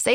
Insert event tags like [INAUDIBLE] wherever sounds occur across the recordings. Say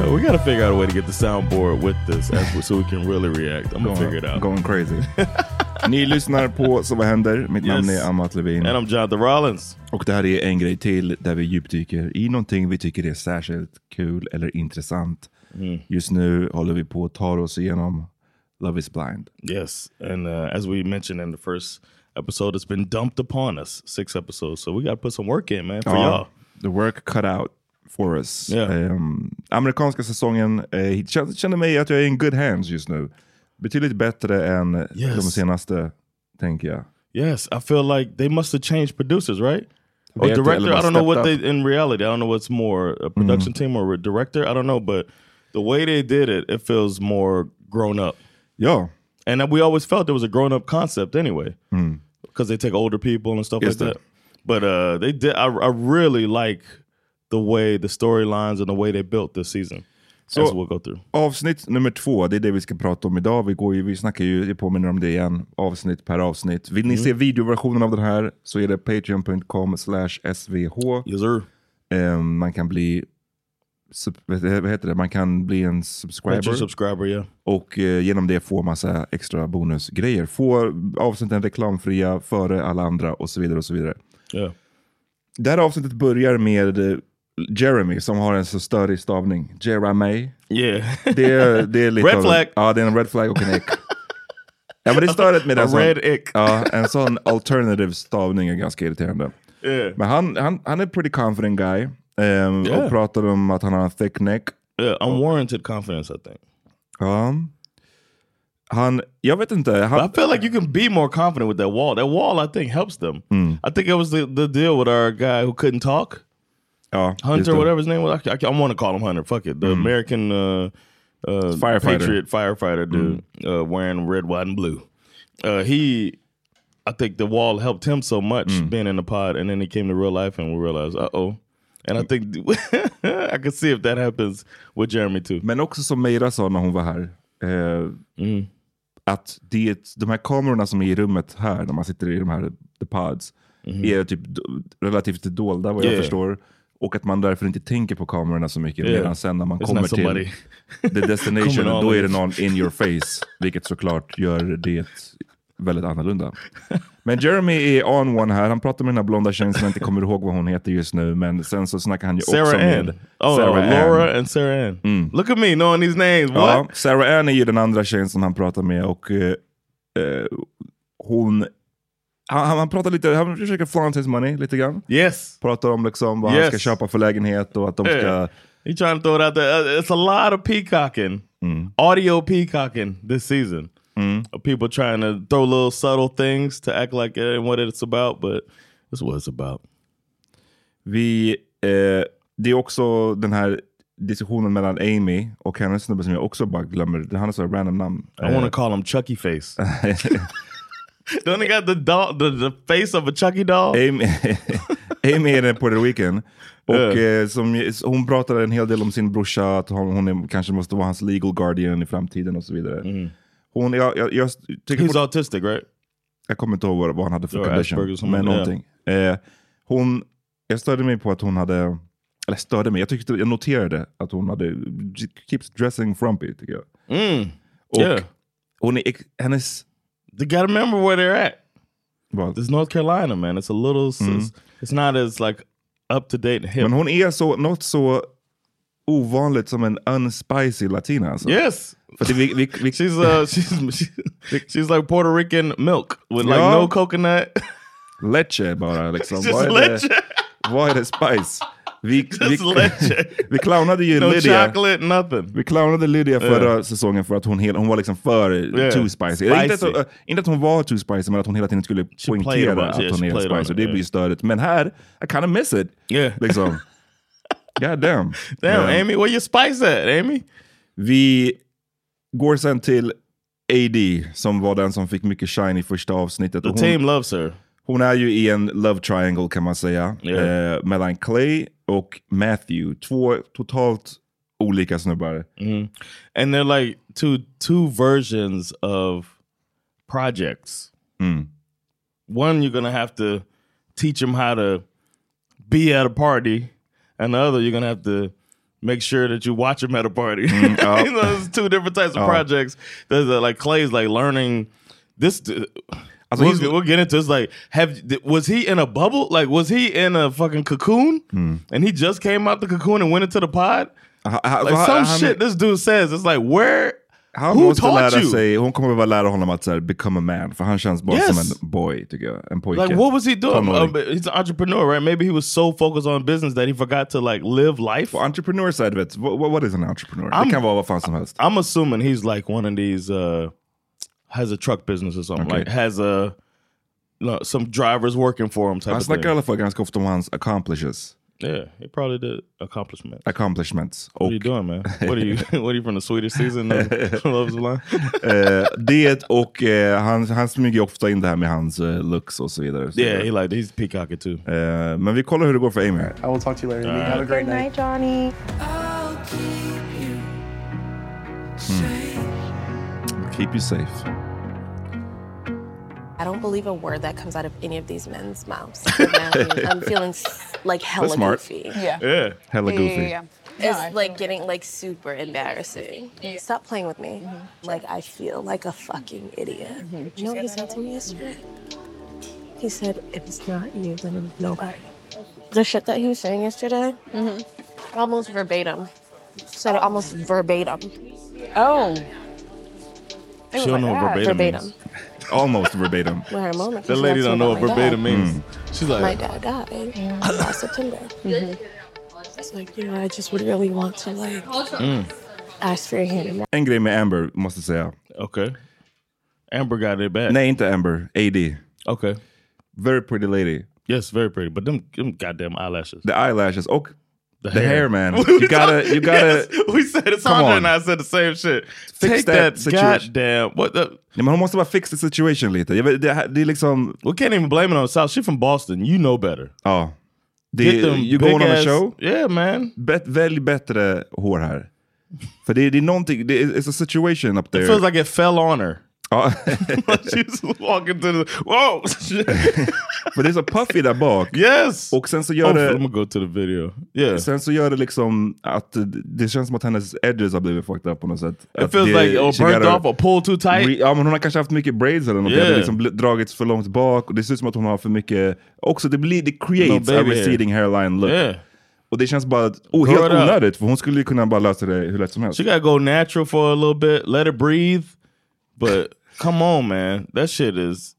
Uh, we got to figure out a way to get the soundboard with this as we, so we can really react. I'm going to figure it out. [LAUGHS] Going crazy. Ni lyssnar på Så vad händer? Mitt namn Yes. är Amat Levin. And I'm Jonathan Rollins. Och det här är en grej till där vi djupdyker i någonting vi tycker är särskilt kul eller intressant. Mm. Just nu håller vi på att ta oss igenom Love is blind. Yes. And uh, as we mentioned in the first episode, it's been dumped upon us, six episodes. So we got to put some work in, man, for y'all. The work cut out for us. Yeah. Ehm, amerikanska säsongen, eh, kän- känner mig att jag är in good hands just nu. Betydligt bättre än Yes. de senaste, tänker jag. Yes. I feel like they must have changed producers, right? Or Vet jag, eller director. bara I don't know what stepped they, up. Mm-hmm. in reality, I don't know what's more, a production team or a director. I don't know. But the way they did it, it feels more grown up. Ja, And we always felt it was a grown up concept anyway, because they take older people and stuff Mm. Yes, like sir. that. But uh, they did. I, I really like the way the storylines and the way they built this season. So- as we'll go through. Avsnitt nummer två, det är det vi ska prata om idag. Vi, går ju, vi snackar ju, jag påminner om det igen, avsnitt per avsnitt. Vill ni Mm. se videoversionen av den här så är det patreon.com slash svh. Yes, sir. Ehm, man kan bli, sub, vad heter- vad heter det, man kan bli en Patreon subscriber. subscriber, yeah. och eh, genom det få massa extra bonusgrejer. Få avsnitten reklamfria före alla andra och så vidare och så vidare. Yeah. Det här avsnittet börjar med eh, Jeremy som har en så störig stavning. Jeremy. Yeah. Det är, det [LAUGHS] är lite Red av flag. En, ja, det är en red flag och en ick. ja, men det är störigt med A en sån, red ick. Ja, en sån alternative stavning är ganska irriterande. Yeah. Men han, han, han är pretty confident guy. ehm, Yeah. Och pratar om att han har en thick neck. yeah. Unwarranted confidence, I think. Ja. Han, jag vet inte. But Han, I feel like you can be more confident with that wall. That wall, I think, helps them. Hmm. I think it was the, the deal with our guy who couldn't talk. ja, just Hunter, det. Hmm. whatever his name was. I, I, want to call him Hunter. Fuck it. The American uh, uh, Firefighter. Hmm. Patriot firefighter dude uh, wearing red, white, and blue. Uh, he, Hmm. I think the wall helped him so much being in the pod. And then he came to real life and we realized, uh oh, And I think [LAUGHS] I could see if that happens with Jeremy too. Mm. Men också som Meira sa när hon var här. Eh, Att det, är ett- de här kamerorna som är i rummet här, när man sitter i de här the pods, är typ d- relativt dolda vad jag Mm-hmm. Yeah. förstår. Och att man därför inte tänker på kamerorna så mycket. Yeah. Medan sen när man It's kommer not somebody. till [LAUGHS] the destination, Coming on då är det with. någon in your face. Vilket såklart gör det väldigt annorlunda. Men Jeremy är on one här. Han pratar med den här blonda tjejen som jag inte kommer ihåg vad hon heter just nu. Men sen så snackar han ju också Sarah med Ann. Oh, Sarah Ann. Laura and Sarah Ann. Look at me knowing these names. Mm. Ja, What? Sarah Ann är ju den andra tjejen som han pratar med och eh, eh, hon... Han, han- han pratar lite, han försöker flaunt his money lite grann. Yes. Pratar om liksom vad han Yes. Eh. ska köpa för lägenhet och att de ska... Yeah. He trying to throw it out there. Uh, It's a lot of peacocking, Mm. audio peacocking this season. Of People trying to throw little subtle things to act like it ain't what it's about, but it's what it's about. [LAUGHS] Vi, eh, det är också den här diskussionen mellan Amy och hennes snubbe som jag också bara glömmer. Han har så här random namn. Eh. I want to call him Chucky [LAUGHS] Face. Don't he got the doll, the, the face of a Chucky doll? Amy, Amy är den Puerto Rican. Och [LAUGHS] Ja. eh, som, hon pratar en hel del om sin brorsa, att hon, hon är, kanske måste vara hans legal guardian i framtiden och så vidare. [LAUGHS] Mm. Hon, jag, jag, jag, tycker He's fort, autistic, right? jag kommer inte ihåg vad, vad han hade för Ja, Asperger's, condition, hon- men ja. någonting. Eh, hon, jag störde mig på att hon hade, eller störde mig, jag, tyckte, jag noterade att hon hade, keeps dressing frumpy tycker jag. Mm. Och Yeah. hon är, ex- hennes, They got to remember where they're at. vad? Mm. It's North Carolina, man. It's a little. It's, it's not as like up to date and hip. men hon är så, något så ovanligt som en unspicy latina alltså. yes, För det, vi, vi, vi, she's uh, [LAUGHS] she's she's she's like Puerto Rican milk with like Yeah. no coconut. [LAUGHS] leche bara liksom. Just vad, är leche. Det, vad är det spice? Vi, vi, Just leche. [LAUGHS] vi clownade ju no Lydia. chocolate, nothing. Vi clownade Lydia förra säsongen för att hon, hel, hon var liksom för Yeah. too spicy. Spicy. Inte, att, hon- äh, inte att hon var too spicy, men att hon hela tiden skulle played on poängtera it. att Yeah, hon she är played on spicy. it. Det blir ju Yeah. störigt. Men här, I kind of miss it. Yeah. [LAUGHS] Liksom. God damn. Damn, Yeah. Amy, where your spice at, Amy? Vi går sen till AD, som var den som fick mycket shine i första avsnittet. The Och hon- team loves her. Hon är ju i en love triangle kan man säga. Yeah. Eh, mellan Clay och Matthew. Två totalt olika snubbar. Mm-hmm. and they're like two two versions of projects. Mm. One you're gonna have to teach them how to be at a party, and the other you're gonna have to make sure that you watch them at a party. [LAUGHS] you know, there's two different types of projects. There's uh like Clay's like learning this. uh, Alltså, we'll, he's- we'll get into this. Like, have was he in a bubble? Like, was he in a fucking cocoon? And he just came out the cocoon and went into the pod. Ha- ha- Like ha- some han- shit this dude says, it's like where han who måste taught lära you? sig, hon kommer behöva lära honom att så här, become a man. För han känns bara Yes. som en boy, tycker jag. En pojke. like what was he doing? Tonåring. Um, he's an entrepreneur, right? Maybe he was so focused on business that he forgot to like live life. entrepreneur side of it. What, what is an entrepreneur? det I'm- kan vara vad fan som helst. I'm assuming he's like one of these uh has a truck business or something. Okay. Like has a no, some drivers working for him type Han of snackar i thing. alla fall ganska ofta om hans accomplishes, Yeah, he probably did accomplishment. accomplishments. What Och are you doing, man? What are you? [LAUGHS] [LAUGHS] What are you from the Swedish season? [LAUGHS] Of Love is Blind. eh, det och eh, han, han smyger ju ofta in det här med hans eh, looks och så vidare. Så Yeah, vidare. he like he's peacocking too. Eh, men vi kollar hur det går för Amy här. I will talk to you later. Amy. Have a great night. Johnny. Hmm. Keep you safe. I don't believe a word that comes out of any of these men's mouths. [LAUGHS] I'm feeling s- like hella That's smart. goofy. Yeah. Hella goofy. It's like getting like super embarrassing. Stop playing with me. Mm-hmm. Like I feel like a fucking idiot. Mm-hmm. You know what he said to me yesterday? He said, "If it's not you, then [LAUGHS] it's nobody." The shit that he was saying yesterday, Mm-hmm. almost verbatim. Said it almost verbatim. Oh. She don't know what verbatim, Verbatim. means. Almost verbatim. Hmm. With her mom. That lady don't Oh know what verbatim means. She's like, Hmm. my dad [LAUGHS] died last September. Mm-hmm. It's like, you know, I just would really want to like hmm. Mm. ask for him. En grej med Amber, måste jag säga. Okay. Amber got it back. Nej, inte Amber. AD. Okay. Very pretty lady. Yes, very pretty. But them, them goddamn eyelashes. The eyelashes och The, the hair [LAUGHS] man. You gotta, you gotta... Yes, we said it. Come Sandra and on. I said the same shit. Take that that, situation. goddamn. What the? Nej, men hon måste bara fix the situation lite. Jag vet, det, här- det är liksom... We can't even blame it on the South. She from Boston. You know better. Ja. Det, Get them you going big on a ass- show? Yeah man. Bet, välj bättre hår här. För det, det är någonting, det, it's a situation up there. It feels like it fell on her. [LAUGHS] Ja. [LAUGHS] She's walking to the... [LAUGHS] Whoa! [LAUGHS] För det är så puffy där bak. Yes! Och sen så gör Oh, det... I'm gonna go to the video. Yeah. Sen så gör det liksom att det känns som att hennes edges har blivit fucked up på något sätt. It Att feels det- like, oh, she burnt gotta- off or pulled too tight. Re- Ja, men hon har kanske haft mycket braids eller något. Det Yeah. hade liksom bl- dragits för långt bak. Och det ser ut som att hon har för mycket... Också det blir... Det creates No a baby hair. receding hairline look. Yeah. Och det känns bara oh, Grow helt it up. onödigt. För hon skulle ju kunna bara lösa det hur lätt som helst. She gotta go natural for a little bit, let it breathe. [LAUGHS] But come on man, that shit is...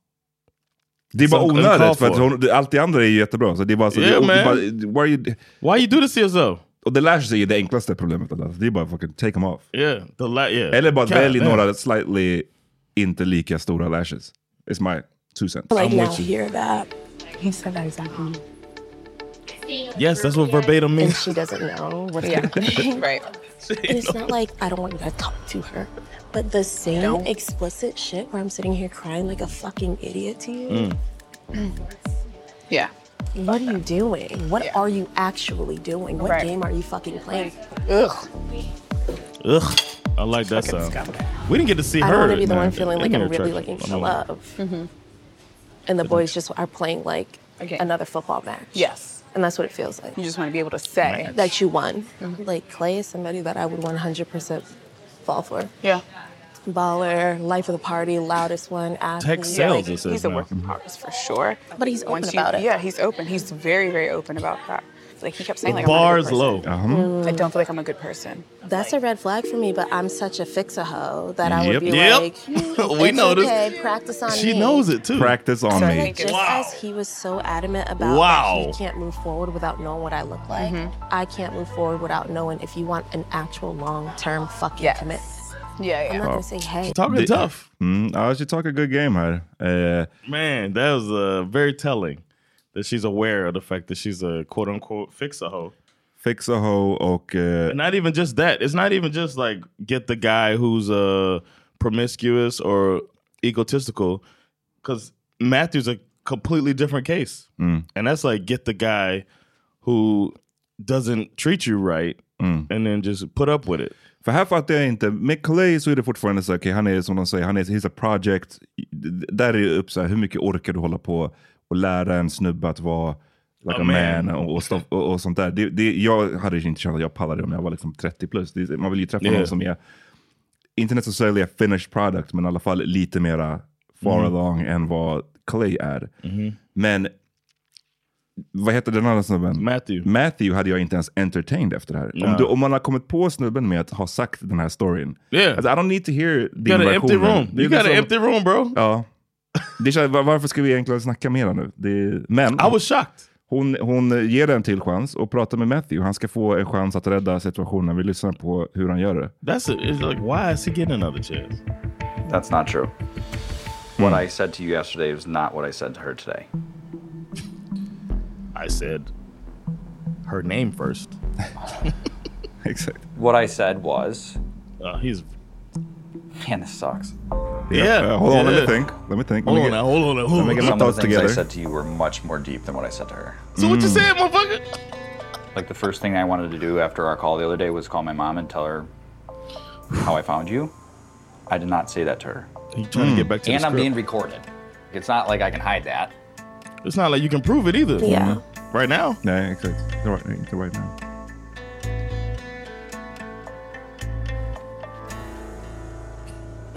Det är bara Som- onödigt för att uncalled hon, det- allt det andra är ju jättebra. Så det är bara så, Yeah, man. det, det är bara, why, you, why you do this to yourself? Och the lashes är ju det enklaste problemet. Alltså. Det är bara fucking take them off. Yeah, the la yeah. Eller bara God välj damn. några slightly inte lika stora lashes. It's my two cents. Like now, hear that. He said that exactly. Yes, that's what verbatim And means. she doesn't know what's [LAUGHS] happening. [LAUGHS] right. It's not like I don't want you to talk to her, but the same explicit shit where I'm sitting here crying like a fucking idiot to you. Mm. Yeah. What are you doing? What are you actually doing? What game are you fucking playing? Ugh. Ugh, I like that sound. We didn't get to see I her. don't want to be the man. one feeling like In I'm her really trash. looking I for don't- love. Mm-hmm. And the boys just are playing like another football match. Yes. And that's what it feels like. You just want to be able to say. Mm-hmm. That you won. Like Clay is somebody that I would 100% fall for. Yeah. Baller, life of the party, loudest one, athlete. Tech sales, like, it says he's a now. work- Ours for sure. But he's open Once you- about it. Yeah, he's open. He's very, very open about that. Like he kept saying, The like, I'm not a bar good is person. low. Uh-huh. Mm-hmm. I don't feel like I'm a good person. That's a red flag for me, but I'm such a fixer hoe that I would Yep. be Yep. like, We "It's noticed. Okay, practice on me. Practice on so, me. Like, just as he was so adamant about Wow. that he can't move forward without knowing what I look like, I can't move forward without knowing if you want an actual long term fucking commitment. Yeah, yeah. I'm not gonna say hey. Det- Mm, ja, she talk a good game här. Eh, Man, that was uh, very telling that she's aware of the fact that she's a quote unquote fixer hoe. fix a hoe och... eh, And not even just that. It's not even just like get the guy who's uh, promiscuous or egotistical, because Matthew's a completely different case, Mm. and that's like get the guy who doesn't treat you right, and then just put up with it. mm. För här fattar jag inte. Med Clay så är det fortfarande så här, okej, han är som de säger, han är he's a project. D- Där är det upp så här, hur mycket orkar du hålla på och lära en snubbe att vara like A a, man. man, och, och, stoff, och, och sånt där. Det, det, jag hade ju inte känt att jag pallade om jag var liksom 30 plus. Det, man vill ju träffa Yeah. någon som är, inte necessarily a finished product, men i alla fall lite mera far Mhm. along än vad Clay är. Mm-hmm. Men vad heter den andra snubben? Matthew. Matthew hade jag inte ens entertained efter det här. Om, Nej. du, om man har kommit på snubben med att ha sagt den här storyn. Yeah. Alltså, I don't need to hear You got an empty room. Det är You got an empty room, bro. Ja. Det känns, var- varför ska vi egentligen snacka mer nu? Det, men I was shocked. Hon, hon ger det en till chans och pratar med Matthew. Han ska få en chans att rädda situationen. Vi lyssnar på hur han gör det. That's it. It's like why is he getting another chance? That's not true. Hmm. What I said to you yesterday was not what I said to her today. I said her name first. [LAUGHS] Exactly. What I said was. Uh, he's. Man, this sucks. Uh, hold on, let me think. Let me think. Let me get- Let me get my Some of thoughts the things I together. Hmm. said to you were much more deep than what I said to her. So what you saying, motherfucker? Like the first thing I wanted to do after our call the other day was call my mom and tell her how I found you. I did not say that to her. You trying to get back to And the I'm script. being recorded. It's not like I can hide that. It's not like you can prove it either. Yeah. Right now. Nej, exakt. Det var inte right now.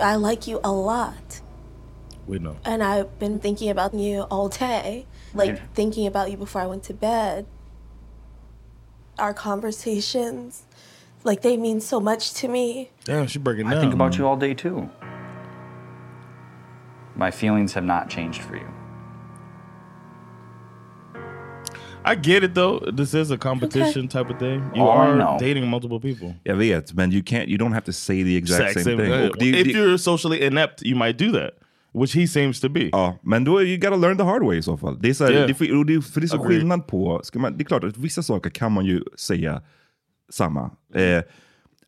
I like you a lot. We know. And I've been thinking about you all day, like Yeah. thinking about you before I went to bed. Our conversations, like they mean so much to me. Damn, she breaking down. I think about you all day too. My feelings have not changed for you. I get it though. This is a competition type of thing. Oh, You All I are know. dating multiple people. Jag vet, men you, can't, you don't have to say the exact Exact same, same thing. thing. Och det- If det- you're socially inept, you might do that, which he seems to be. Ja, men då you gotta learn the hard way i så fall. Det är, så här, Yeah. det, för, och det, för det är så Agreed. skillnad på... Ska man, det är klart att vissa saker kan man ju säga samma. Eh,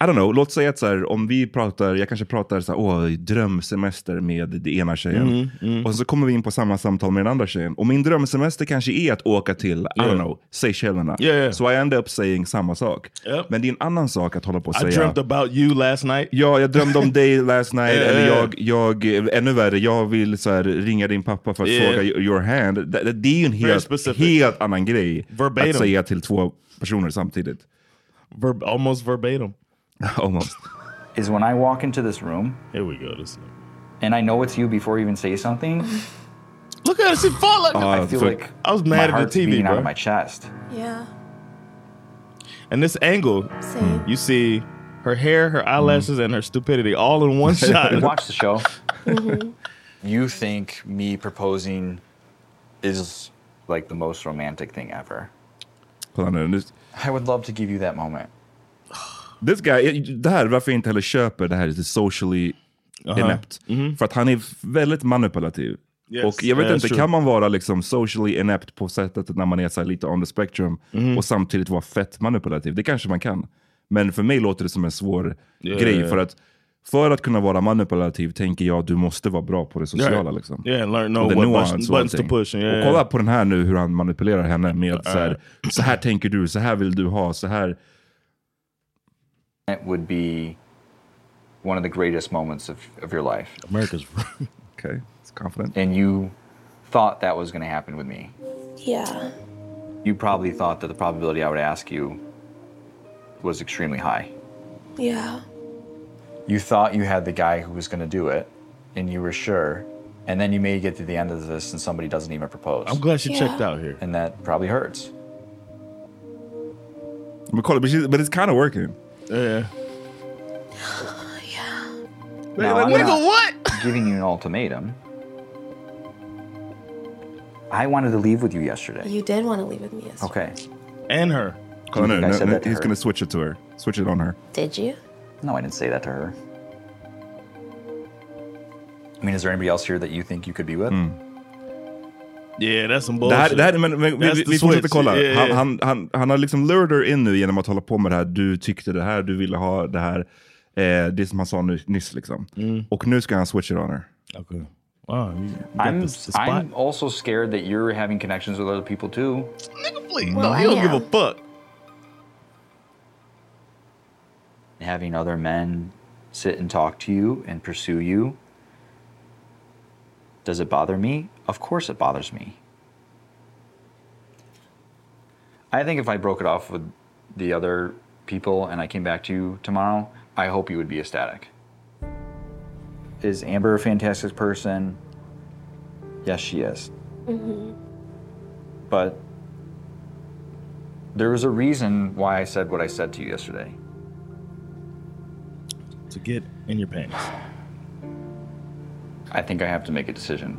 I don't know, låt säga att så här, om vi pratar, jag kanske pratar så här, åh, drömsemester med den ena tjejen. Mm, mm. Och så kommer vi in på samma samtal med den andra tjejen. Och min drömsemester kanske är att åka till, I Yeah. don't know, Seychellerna. Yeah, yeah. Så I end up saying samma sak. Yep. Men det är en annan sak att hålla på och I säga. dreamt uh, about you [LAUGHS] last night. Ja, jag drömde om dig last night. Yeah, Eller yeah. jag, jag, ännu värre, jag vill så här, ringa din pappa för att Yeah. fråga your hand. Det, det- det är ju en Very helt, specific. helt annan grej Verbatim. att säga till två personer samtidigt. Verb almost verbatim. Almost. Is when I walk into this room. Here we go. This. And I know it's you before you even say something. Look at her, she falling. Ah, I feel like I was mad my at heart's the TV, beating out bro. of my chest. Yeah. And this angle, Same. you see her hair, her eyelashes, and her stupidity all [LAUGHS] in one shot. Mm-hmm. [LAUGHS] Watch the show. Mhm. You think me proposing is like the most romantic thing ever? Kolla nu, nu- I would love to give you that moment. This guy, eh, det här, varför jag inte heller köper det här, det är socially Aha. inept. För att han är väldigt manipulativ. Mm-hmm. Yes, och jag vet yeah, inte, that's true. kan man vara liksom socially inept på sättet att när man är så här lite on the spectrum Mhm. och samtidigt vara fett manipulativ? Det kanske man kan. Men för mig låter det som en svår Yeah. grej. För att, för att kunna vara manipulativ tänker jag du måste vara bra på det sociala. Right. Liksom. Yeah, and learn- know Och the what nuance buttons- och buttons to allting. push, yeah, och yeah. kolla på den här nu hur han manipulerar henne med så här, Alright. så här tänker du, så här vill du ha, så här. It would be one of the greatest moments of, of your life. [LAUGHS] America's okay. It's confident. And you thought that was going to happen with me. Yeah. You probably thought that the probability I would ask you was extremely high. Yeah. You thought you had the guy who was going to do it, and you were sure. And then you may get to the end of this and somebody doesn't even propose. I'm glad she Yeah. checked out here. And that probably hurts. Men kolla, but, she's- but it's kind of working. Yeah. Now, like, I'm "Nigga, not what?" [LAUGHS] Giving you an ultimatum. I wanted to leave with you yesterday. You did want to leave with me yesterday. Okay. And her. Kolla Do nu, you think I nu, said nu that to he's her? gonna switch it to her. Switch it on her. Did you? No, I didn't say that to her. I mean, is there anybody else here that you think you could be Hmm. with? Yeah, that's some Det här, bullshit. det här, men, men, vi That's vi, the vi fortsätter switch. kolla. Yeah, Han, yeah. han, han, han har liksom lured her in nu genom att hålla på med det här. Du tyckte det här, du ville ha det här. Eh, det som han sa nu, nyss liksom. Och nu ska han switch it on her. Mm. Okay. Wow, you, you got I'm, this- the spot. I'm also scared that you're having connections with other people too. Please, Well, no, I you don't give am. a fuck. Having other men sit and talk to you and pursue you. Does it bother me? Of course it bothers me. I think if I broke it off with the other people and I came back to you tomorrow, I hope you would be ecstatic. Is Amber a fantastic person? Yes, she is. Mm-hmm. But there was a reason why I said what I said to you yesterday. To get in your pants. I think I have to make a decision.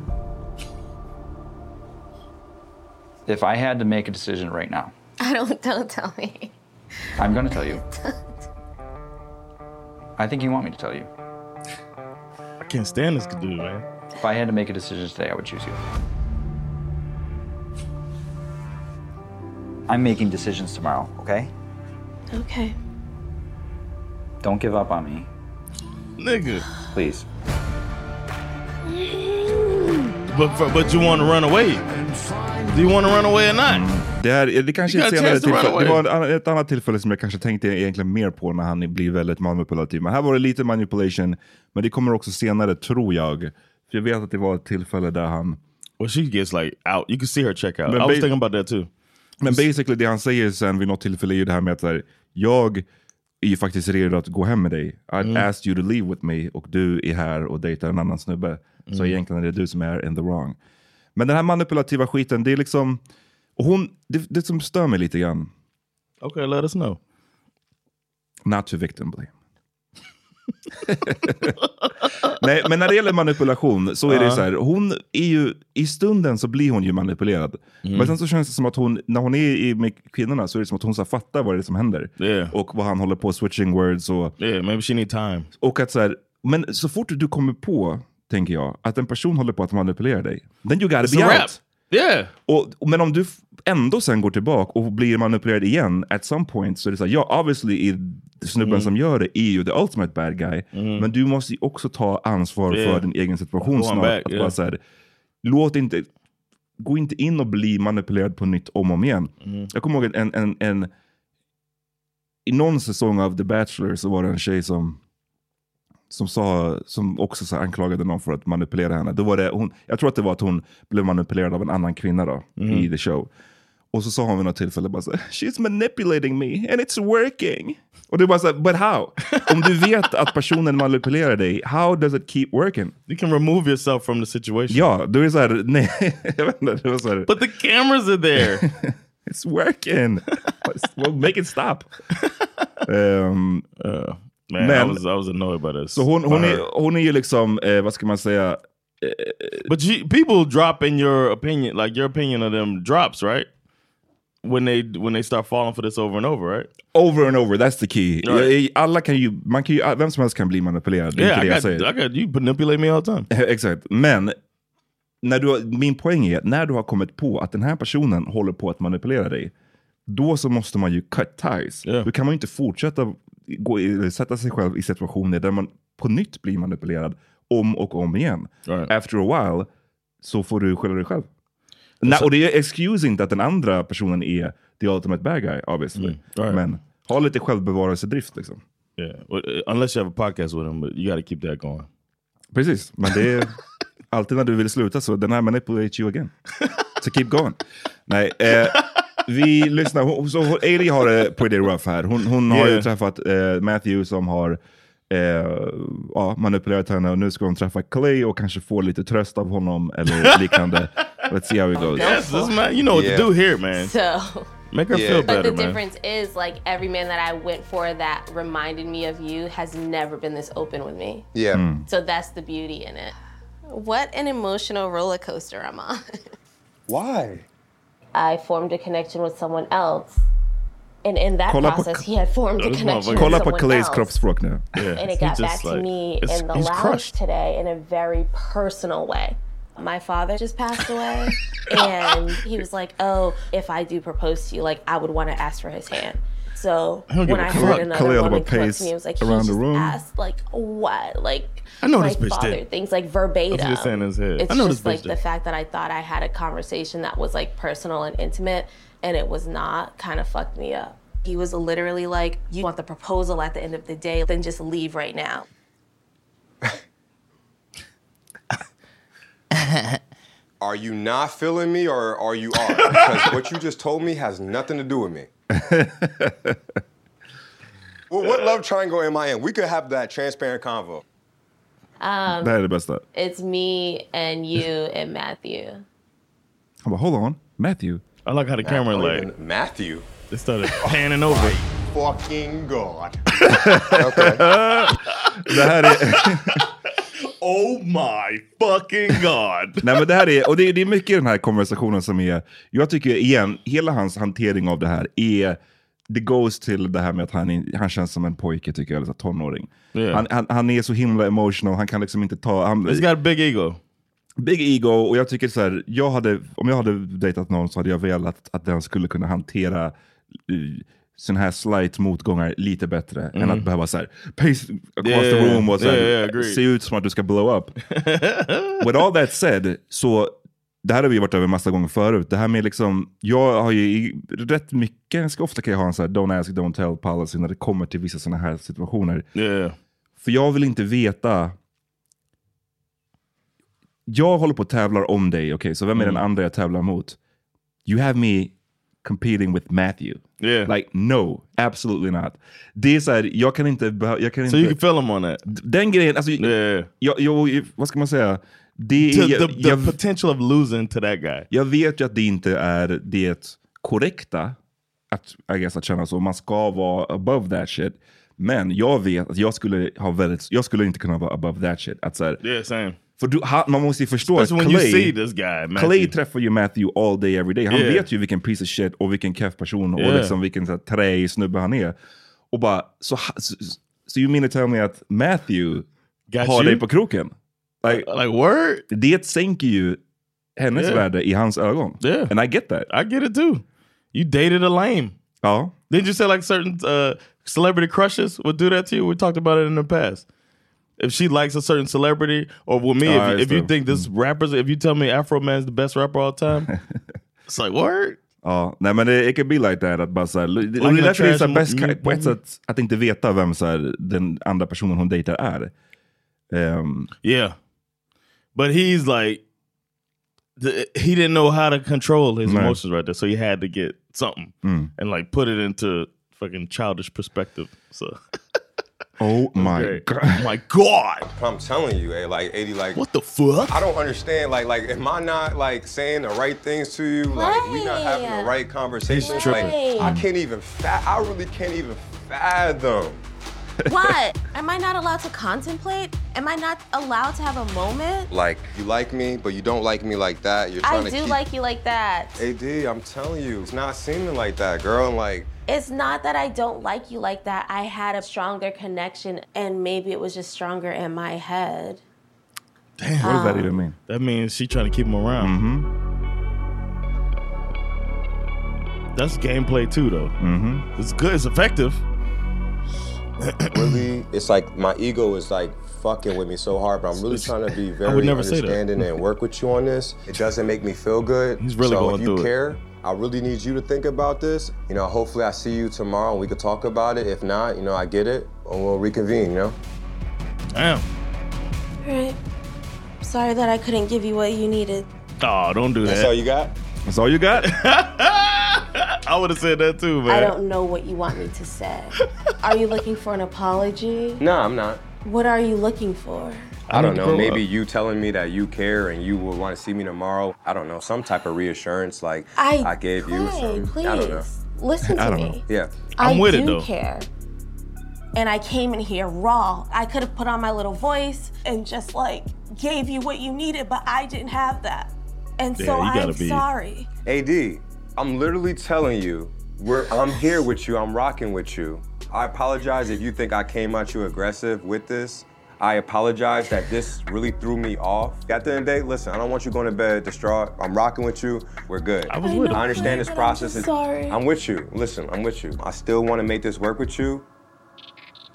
If I had to make a decision right now, [LAUGHS] I don't. Don't tell me. I'm going to tell you. I think you want me to tell you. I can't stand this dude, man. If I had to make a decision today, I would choose you. I'm making decisions tomorrow, okay? Okay. Don't give up on me, Nigga. please. But, for- but you want to run away. Do you want to run away or not? Mm-hmm. Det, här, det kanske är You ett got a senare chance to run tillfälle. Det away. var en annan- ett annat tillfälle som jag kanske tänkte egentligen mer på när han blir väldigt manipulativ. Men här var det lite manipulation. Men det kommer också senare, tror jag. För jag vet att det var ett tillfälle där han... Well, she gets like out. You can see her check out. Men I was ba- thinking about that too. Men basically det han säger sen vid något tillfälle är ju det här med att så här, jag är ju faktiskt redo att gå hem med dig. I Mm. asked you to leave with me och du är här och dejtar en annan snubbe. Så Mm. egentligen är det du som är in the wrong. Men den här manipulativa skiten, det är liksom... Och hon, det, det som stör mig lite grann, Okay, let us know. not to victim blame. [LAUGHS] Nej, men när det gäller manipulation så är det Ja. så här, hon är ju, i stunden så blir hon ju manipulerad. Mm. Men sen så känns det som att hon, när hon är i- med kvinnorna så är det som att hon så här fattar vad det är som händer. Och vad han håller på, switching words och... Yeah, maybe she need time. Och att så här, men så fort du kommer på, tänker jag, att en person håller på att manipulera dig, then you gotta It's be a out. wrap. Yeah. Och, men om du f- ändå sen går tillbaka och blir manipulerad igen at some point så är det så här, ja obviously är snubben Mm. som gör det är ju the ultimate bad guy. Men du måste ju också ta ansvar Yeah. för din egen situation Going snart. back, att yeah. bara så här, låt inte, gå inte in och bli manipulerad på nytt om och om igen. Mm. Jag kommer ihåg en, en, en, i någon säsong av The Bachelor så var det en tjej som som, sa, som också så här anklagade någon för att manipulera henne. Då var det, hon, jag tror att det var att hon blev manipulerad av en annan kvinna då, Mhm. i the show. Och så sa hon vid något tillfälle bara så här, She's manipulating me and it's working. Och det var så här, but how? Om du vet att personen manipulerar dig, how does it keep working? You can remove yourself from the situation. Ja, du är så här, [LAUGHS] nej, jag vet inte, det var så här, But the [LAUGHS] cameras are [LAUGHS] there. [LAUGHS] it's working. well, make it stop. Ehm, Uh, Man, I was I was annoyed by this. Så hon, by hon, her. är, hon är ju liksom, eh, vad ska man säga? But you, people drop in your opinion, like your opinion of them drops, right? When they when they start falling for this over and over, right? Over and over, that's the key. Right. Alla kan ju, man kan ju, vem som helst kan bli manipulerad. det är Yeah, inte I det jag got, I säger. got you manipulate me all the time. [LAUGHS] Exakt, men när du, har- min poäng är att när du har kommit på att den här personen håller på att manipulera dig, då så måste man ju cut ties. Då kan man ju inte fortsätta gå, i- sätta sig själv i situationer där man på nytt blir manipulerad om och om igen. After a while så får du skylla dig själv. Nej, och det excuser inte att den andra personen är the ultimate bad guy, obviously. Men ha lite självbevarelsedrift liksom. Yeah, well, uh, unless you have a podcast with him, but you got to keep that going. Precis, men det är [LAUGHS] alltid när du vill sluta så den här manipulate you again. So keep going. Nej, eh, vi lyssnar. Hon, så hon, Ailey har det pretty rough här. Hon, hon har ju Yeah. träffat eh, Matthew som har eh, ja, manipulerat henne och nu ska hon träffa Clay och kanske få lite tröst av honom [LAUGHS] eller liknande. Let's see how it goes. Yes, this man, you know what to do here, man. So. Make her Yeah. feel But better, the man. difference is, like, every man that I went for that reminded me of you has never been this open with me. Yeah. Hmm. So that's the beauty in it. What an emotional roller coaster I'm on. [LAUGHS] Why? I formed a connection with someone else. And in that Kolla på- process, he had formed a connection Kolla på with someone Clays else. kroppsspråk nu. [LAUGHS] and it got back to me in the he's lounge crushed. today in a very personal way. My father just [LAUGHS] passed away, and he was like, "Oh, if I do propose to you, like I would want to ask for his hand." So I don't when give a I fuck. heard another Khalil woman about come up pace to me, it was like, around the "He just room. asked, like what, like I know my this bitch father did. things like verbatim." That's what he's saying in his head. It's I know this just bitch like did. the fact that I thought I had a conversation that was like personal and intimate, and it was not, kind of fucked me up. He was literally like, "You want the proposal at the end of the day? Then just leave right now." Are you not feeling me or are you [LAUGHS] are? Because what you just told me has nothing to do with me. well, what love triangle am I in? We could have that transparent convo. Um, Det här är det bästa. It's me [LAUGHS] and you and Matthew. Han bara, hold on, Matthew. I like how the camera like Matthew. They started panning over. Fucking [LAUGHS] God. Det här är... [LAUGHS] oh my fucking god. [LAUGHS] Nej, men det här är, och det, är- det är mycket i den här konversationen som är, jag tycker igen, hela hans hantering av det här är, det goes till det här med att han, är- han känns som en pojke tycker jag, eller så här tonåring. Yeah. Han, han, han är så himla emotional, han kan liksom inte ta... Han, He's got a big ego. Big ego, och jag tycker så här, jag hade, om jag hade dejtat någon så hade jag velat att den skulle kunna hantera eh, sån här slight motgångar lite bättre Mm. än att behöva så här, pace across Yeah, the room och så här, yeah, yeah, agreed. se ut som att du ska [LAUGHS] blow up. With all that said, så det här har vi varit över massa gånger förut. Det här med liksom, jag har ju i- rätt mycket, ganska ofta kan jag ha en sån här don't ask, don't tell policy när det kommer till vissa såna här situationer. För jag vill inte veta jag håller på och tävlar om dig, okej, så vem är Mm. den andra jag tävlar mot? You have me competing with Matthew. Yeah. Like no, absolutely not. Det är så här, jag kan inte... behö- Jag kan So inte you can feel him on that. Den grejen, alltså... Jag, jag, vad ska man säga? Det är, To the- jag, the potential of losing to that guy. Jag vet ju att det inte är det korrekta att, I guess, att känna så. Man ska vara above that shit. Men jag vet att jag skulle ha väldigt... Jag skulle inte kunna vara above that shit. Att så här, Yeah, same. för du, han, man måste ju förstå Especially when att you Clay, see this guy, Matthew. Clay träffar ju Matthew all day every day. Han Yeah. vet ju vilken piece of shit och vilken keff person och Yeah. liksom vilken så här, träig snubbe han är. Och bara, så, ha- så, så you mean to tell me att Matthew har you? dig på kroken? Like, word? Det sänker ju hennes Yeah. värde i hans ögon. Yeah. And I get that. I get it too. You dated a lame. Ja. Didn't you say like certain uh, celebrity crushes would do that to you? We talked about it in the past. If she likes a certain celebrity, or with me, Ah, if, I if you see. think this rapper's, if you tell me Afro Man's the best rapper of all [LAUGHS] time, it's like word. Ja, nej men det it can be like that. Att bara, så här, det Like och det är a därför det är så trash här, bäst mo- ka- på ett sätt att inte veta vem så här, den andra personen hon dejtar är. Ehm, Yeah. But he's like, the, he didn't know how to control his Right. emotions right there. So he had to get something Mm. and like put it into fucking childish perspective. So, oh [LAUGHS] my great. god. my God. I'm telling you, eh, like 80, like what the fuck? I don't understand. Like, like, am I not like saying the right things to you? Like, we not having the right conversation. He's Like, tripping. Hmm. I can't even. Fa- I really can't even fathom. What? Am I not allowed to contemplate? Am I not allowed to have a [LAUGHS] moment? Like, you like me, but you don't like me like that. You're trying I to do keep. like you like that. Ad, I'm telling you, it's not seeming like that, girl. And like, It's not that I don't like you like that. I had a stronger connection, and maybe it was just stronger in my head. Damn. What does that even mean? That means she trying to keep him around. Mm-hmm. That's gameplay too, though. Mm-hmm. It's good. It's effective. really, it's like my ego is like fucking with me so hard, but I'm really trying [LAUGHS] to be very never say that. understanding and work with you on this. It doesn't make me feel good. He's really so going if through it. you care, I really need you to think about this. You know, hopefully I see you tomorrow and we could talk about it. If not, you know, I get it and we'll reconvene, you know? Damn. Right. Sorry that I couldn't give you what you needed. Oh, don't do that. That's all you got? That's all you got? [LAUGHS] I would have said that too, man. I don't know what you want me to say. Are you looking for an apology? No, I'm not. What are you looking for? I need don't to know. grow Maybe you telling me that you care and you would want to see me tomorrow. I don't know. Some type of reassurance like I I, gave you. Hey, Some, please I don't know. [LAUGHS] listen to me. Yeah. I do care. And I came in here raw. I could have put on my little voice and just like gave you what you needed, but I didn't have that. And Yeah, so you gotta I'm be- sorry. AD, I'm literally telling you, we're, I'm here with you, I'm rocking with you. I apologize if you think I came at you aggressive with this. I apologize that this really threw me off. At the end of the day, listen, I don't want you going to bed distraught. I'm rocking with you. We're good. I was I with know, I understand Clay, this but I'm process. just is- sorry. I'm with you. Listen, I'm with you. I still want to make this work with you.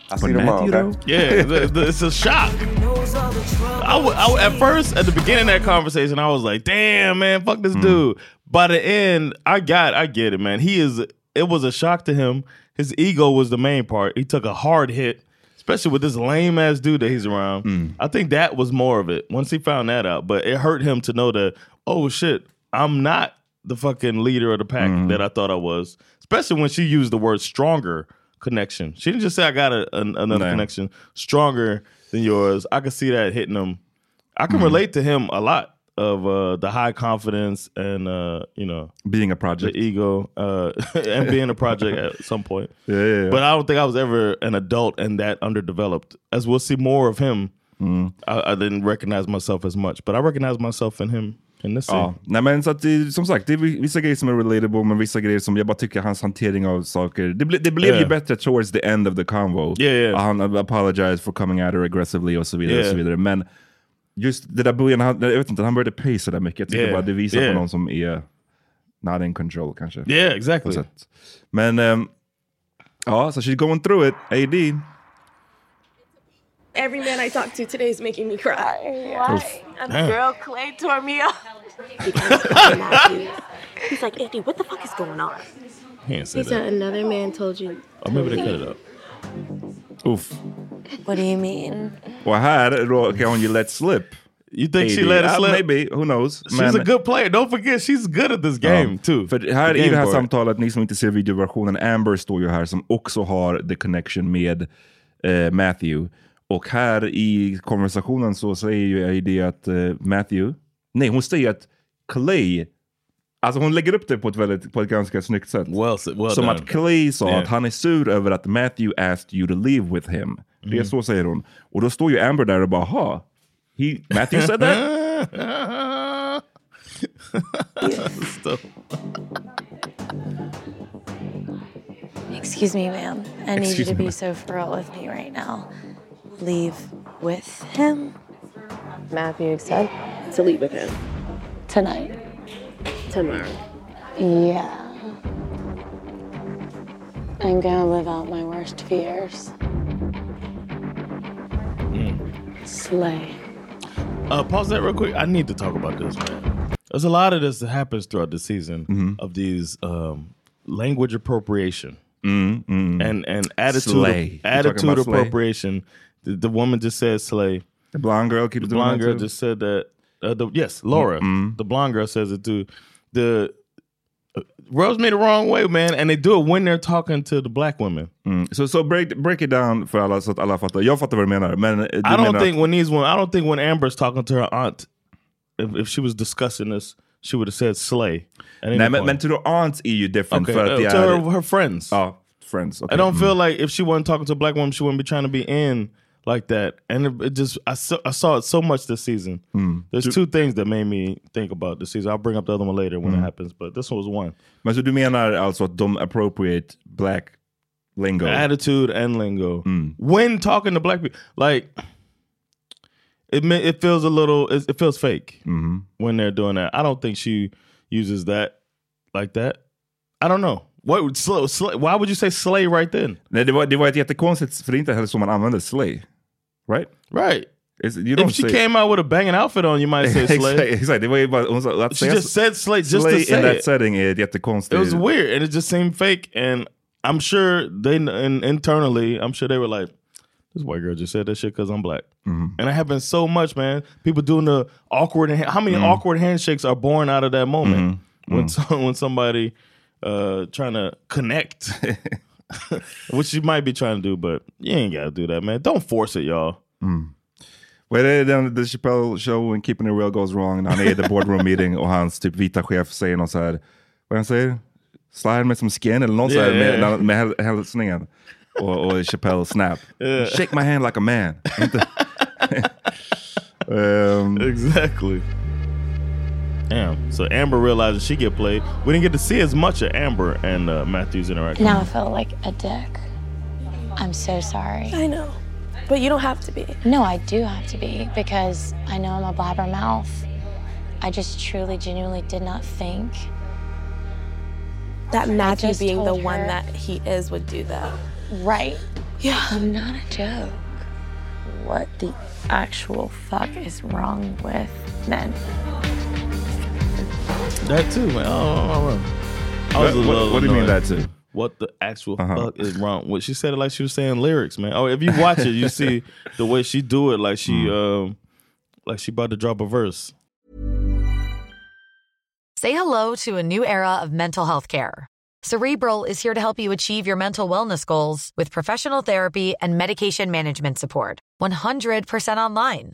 I'll see But you tomorrow, Matthew, okay? though? [LAUGHS] Yeah, the- the- it's a shock. I wa- I wa- at first, at the beginning of that conversation, I was like, "Damn, man, fuck this dude." By the end, I got, I get it, man. He is. It was a shock to him. His ego was the main part. He took a hard hit, especially with this lame ass dude that he's around. I think that was more of it. Once he found that out, but it hurt him to know that, oh shit, I'm not the fucking leader of the pack that I thought I was. Especially when she used the word stronger connection. She didn't just say I got a, an, another No. connection stronger than yours. I could see that hitting him. I Mm-hmm. can relate to him a lot of uh, the high confidence and uh, you know being a project, the ego, uh, [LAUGHS] and being a project at some point. Yeah, yeah, yeah. But I don't think I was ever an adult and that underdeveloped. As we'll see more of him, Mm-hmm. I, I didn't recognize myself as much, but I recognize myself in him in this scene. Ja, nej men så att det, som sagt, det är vissa grejer som är relatable, men vissa grejer som jag bara tycker hans hantering av saker, det, ble, det blev Yeah. ju bättre towards the end of the convo. Yeah, yeah. Han apologized for coming at her aggressively och så vidare. Och Yeah. så vidare. Men just det där början, han, jag vet inte, han började pay sådär mycket. Jag tycker Yeah, bara det visar yeah. på någon som är not in control kanske. Yeah, exactly. På sätt. Men ehm, ja, så so she's going through it, AD. Every man I talk to today is making me cry. Why? And Damn. girl Clay tore me up. Because of Matthew. He's like, Andy, what the fuck is going on? He didn't say He said that. another man told you. Oh, Or maybe they cut it up. Oof. What do you mean? Och här då kan hon ju let slip. Uh, You think she let it slip? Maybe, who knows. She's a good player. Don't forget, she's good at Oh. this game Ja. too. För här The i game det här part. samtalet, ni som inte ser videoversionen, Amber står ju här som också har the connection med eh, Matthew. Och här i konversationen så säger ju ID att eh, Matthew, nej hon säger att Clay, alltså hon lägger upp det på ett, väldigt, på ett ganska snyggt sätt. well som done. att Clay sa Yeah. att han är sur över att Matthew asked you to live with him. Det är Mm. så säger hon. Och då står ju Amber där och bara, ha, he, Matthew said [LAUGHS] that? Stuff. Excuse me, ma'am. I need Excuse you to me, be ma'am. so feral with me right now. Leave with him. Matthew said to leave with him. tonight. Tomorrow. Yeah. I'm gonna live out my worst fears. mm. Slay. Uh, pause that real quick. I need to talk about this, man. There's a lot of this that happens throughout the season Mm-hmm. of these um, language appropriation Mm, and and attitude Mm-hmm. Slay. You talking attitude about slay? appropriation. The, the woman just said slay. The blonde girl keeps the doing blonde that girl too? Mm-hmm. just said that. Uh, the, yes, Laura, the blonde girl says it too. The uh, rubs me the wrong way, man, and they do it when they're talking to the black women. Mm. Så so, break, break it down för alla så att alla fattar. Jag fattar vad du menar. Men eh, du I don't menar think when these women, I don't think when Amber's talking to her aunt, if, if she was discussing this, she would have said slay. at any Nej, men, point. men to the aunts är ju different. Okay, för att uh, det to är, her- friends. Ja, friends. I Oh, okay. don't feel Mm. like if she wasn't talking to a black woman, she wouldn't be trying to be in like that. And it, it just, I saw, I saw it so much this season. Mm. There's Do- two things that made me think about this season. I'll bring up the other one later when it Mm. happens, but this one was one. Men så du menar alltså att de appropriate black lingo? Mm. Attitude and lingo. When talking to black people, like it, ma- it feels a little, it, it feels fake when they're doing that. I don't think she uses that like that. I don't know. What would slow? Slay, why would you say slay right then? Nej, det var, det var ett jättekonstigt, för det är inte heller så man använder slay. Right? Right. It's, you don't If she say, came out with a banging outfit on, you might say [LAUGHS] exakt, slay. exakt, det var ju bara... Hon sa, att She just said slay just to slay say in that it. setting är It ett jättekonstigt... was weird, and it just seemed fake. And I'm sure they and internally, I'm sure they were like, "This white girl just said that shit because I'm black." Mm. And it happens so much, man. People doing the awkward. and How many awkward handshakes are born out of that moment when some- when somebody uh, trying to connect, which you might be trying to do, but you ain't gotta do that, man. Don't force it, y'all. Mm. Vad är det den The Chappelle show when keeping it real goes wrong? när Han är i [LAUGHS] the boardroom meeting och hans typ vita chef säger någon så här, vad han säger? Slide med som skin eller något så här Yeah, med, yeah. med häl- hälsningen. Och, och Chappelle snap. Yeah. Shake my hand like a man. [LAUGHS] Inte- um, Exactly. Damn. So Amber realizes she get played. We didn't get to see as much of Amber and uh, Matthew's interaction. Now I feel like a dick. I'm so sorry. I know. But you don't have to be. No, I do have to be because I know I'm a blabbermouth. I just truly, genuinely did not think. That I Matthew just being the told one her- that he is would do that. Right. Yeah. I'm not a joke. What the actual fuck is wrong with men? That too, man. Oh, I was a What- what- little what do you mean annoyed. that too? Uh-huh. What the actual fuck is wrong? What she said it like she was saying lyrics, man. Oh, if you watch it, [LAUGHS] you see the way she do it, like she Hmm. um, like she about to drop a verse. Say hello to a new era of mental health care. Cerebral is here to help you achieve your mental wellness goals with professional therapy and medication management support. 100% online.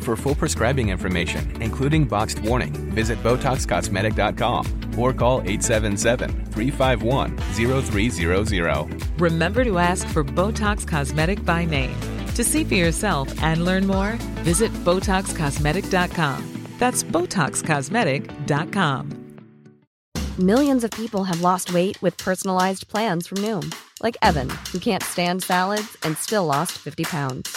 For full prescribing information, including boxed warning, visit BotoxCosmetic.com or call 877-351-0300. Remember to ask for Botox Cosmetic by name. To see for yourself and learn more, visit BotoxCosmetic.com. That's BotoxCosmetic.com. Millions of people have lost weight with personalized plans from Noom, like Evan, who can't stand salads and still lost 50 pounds.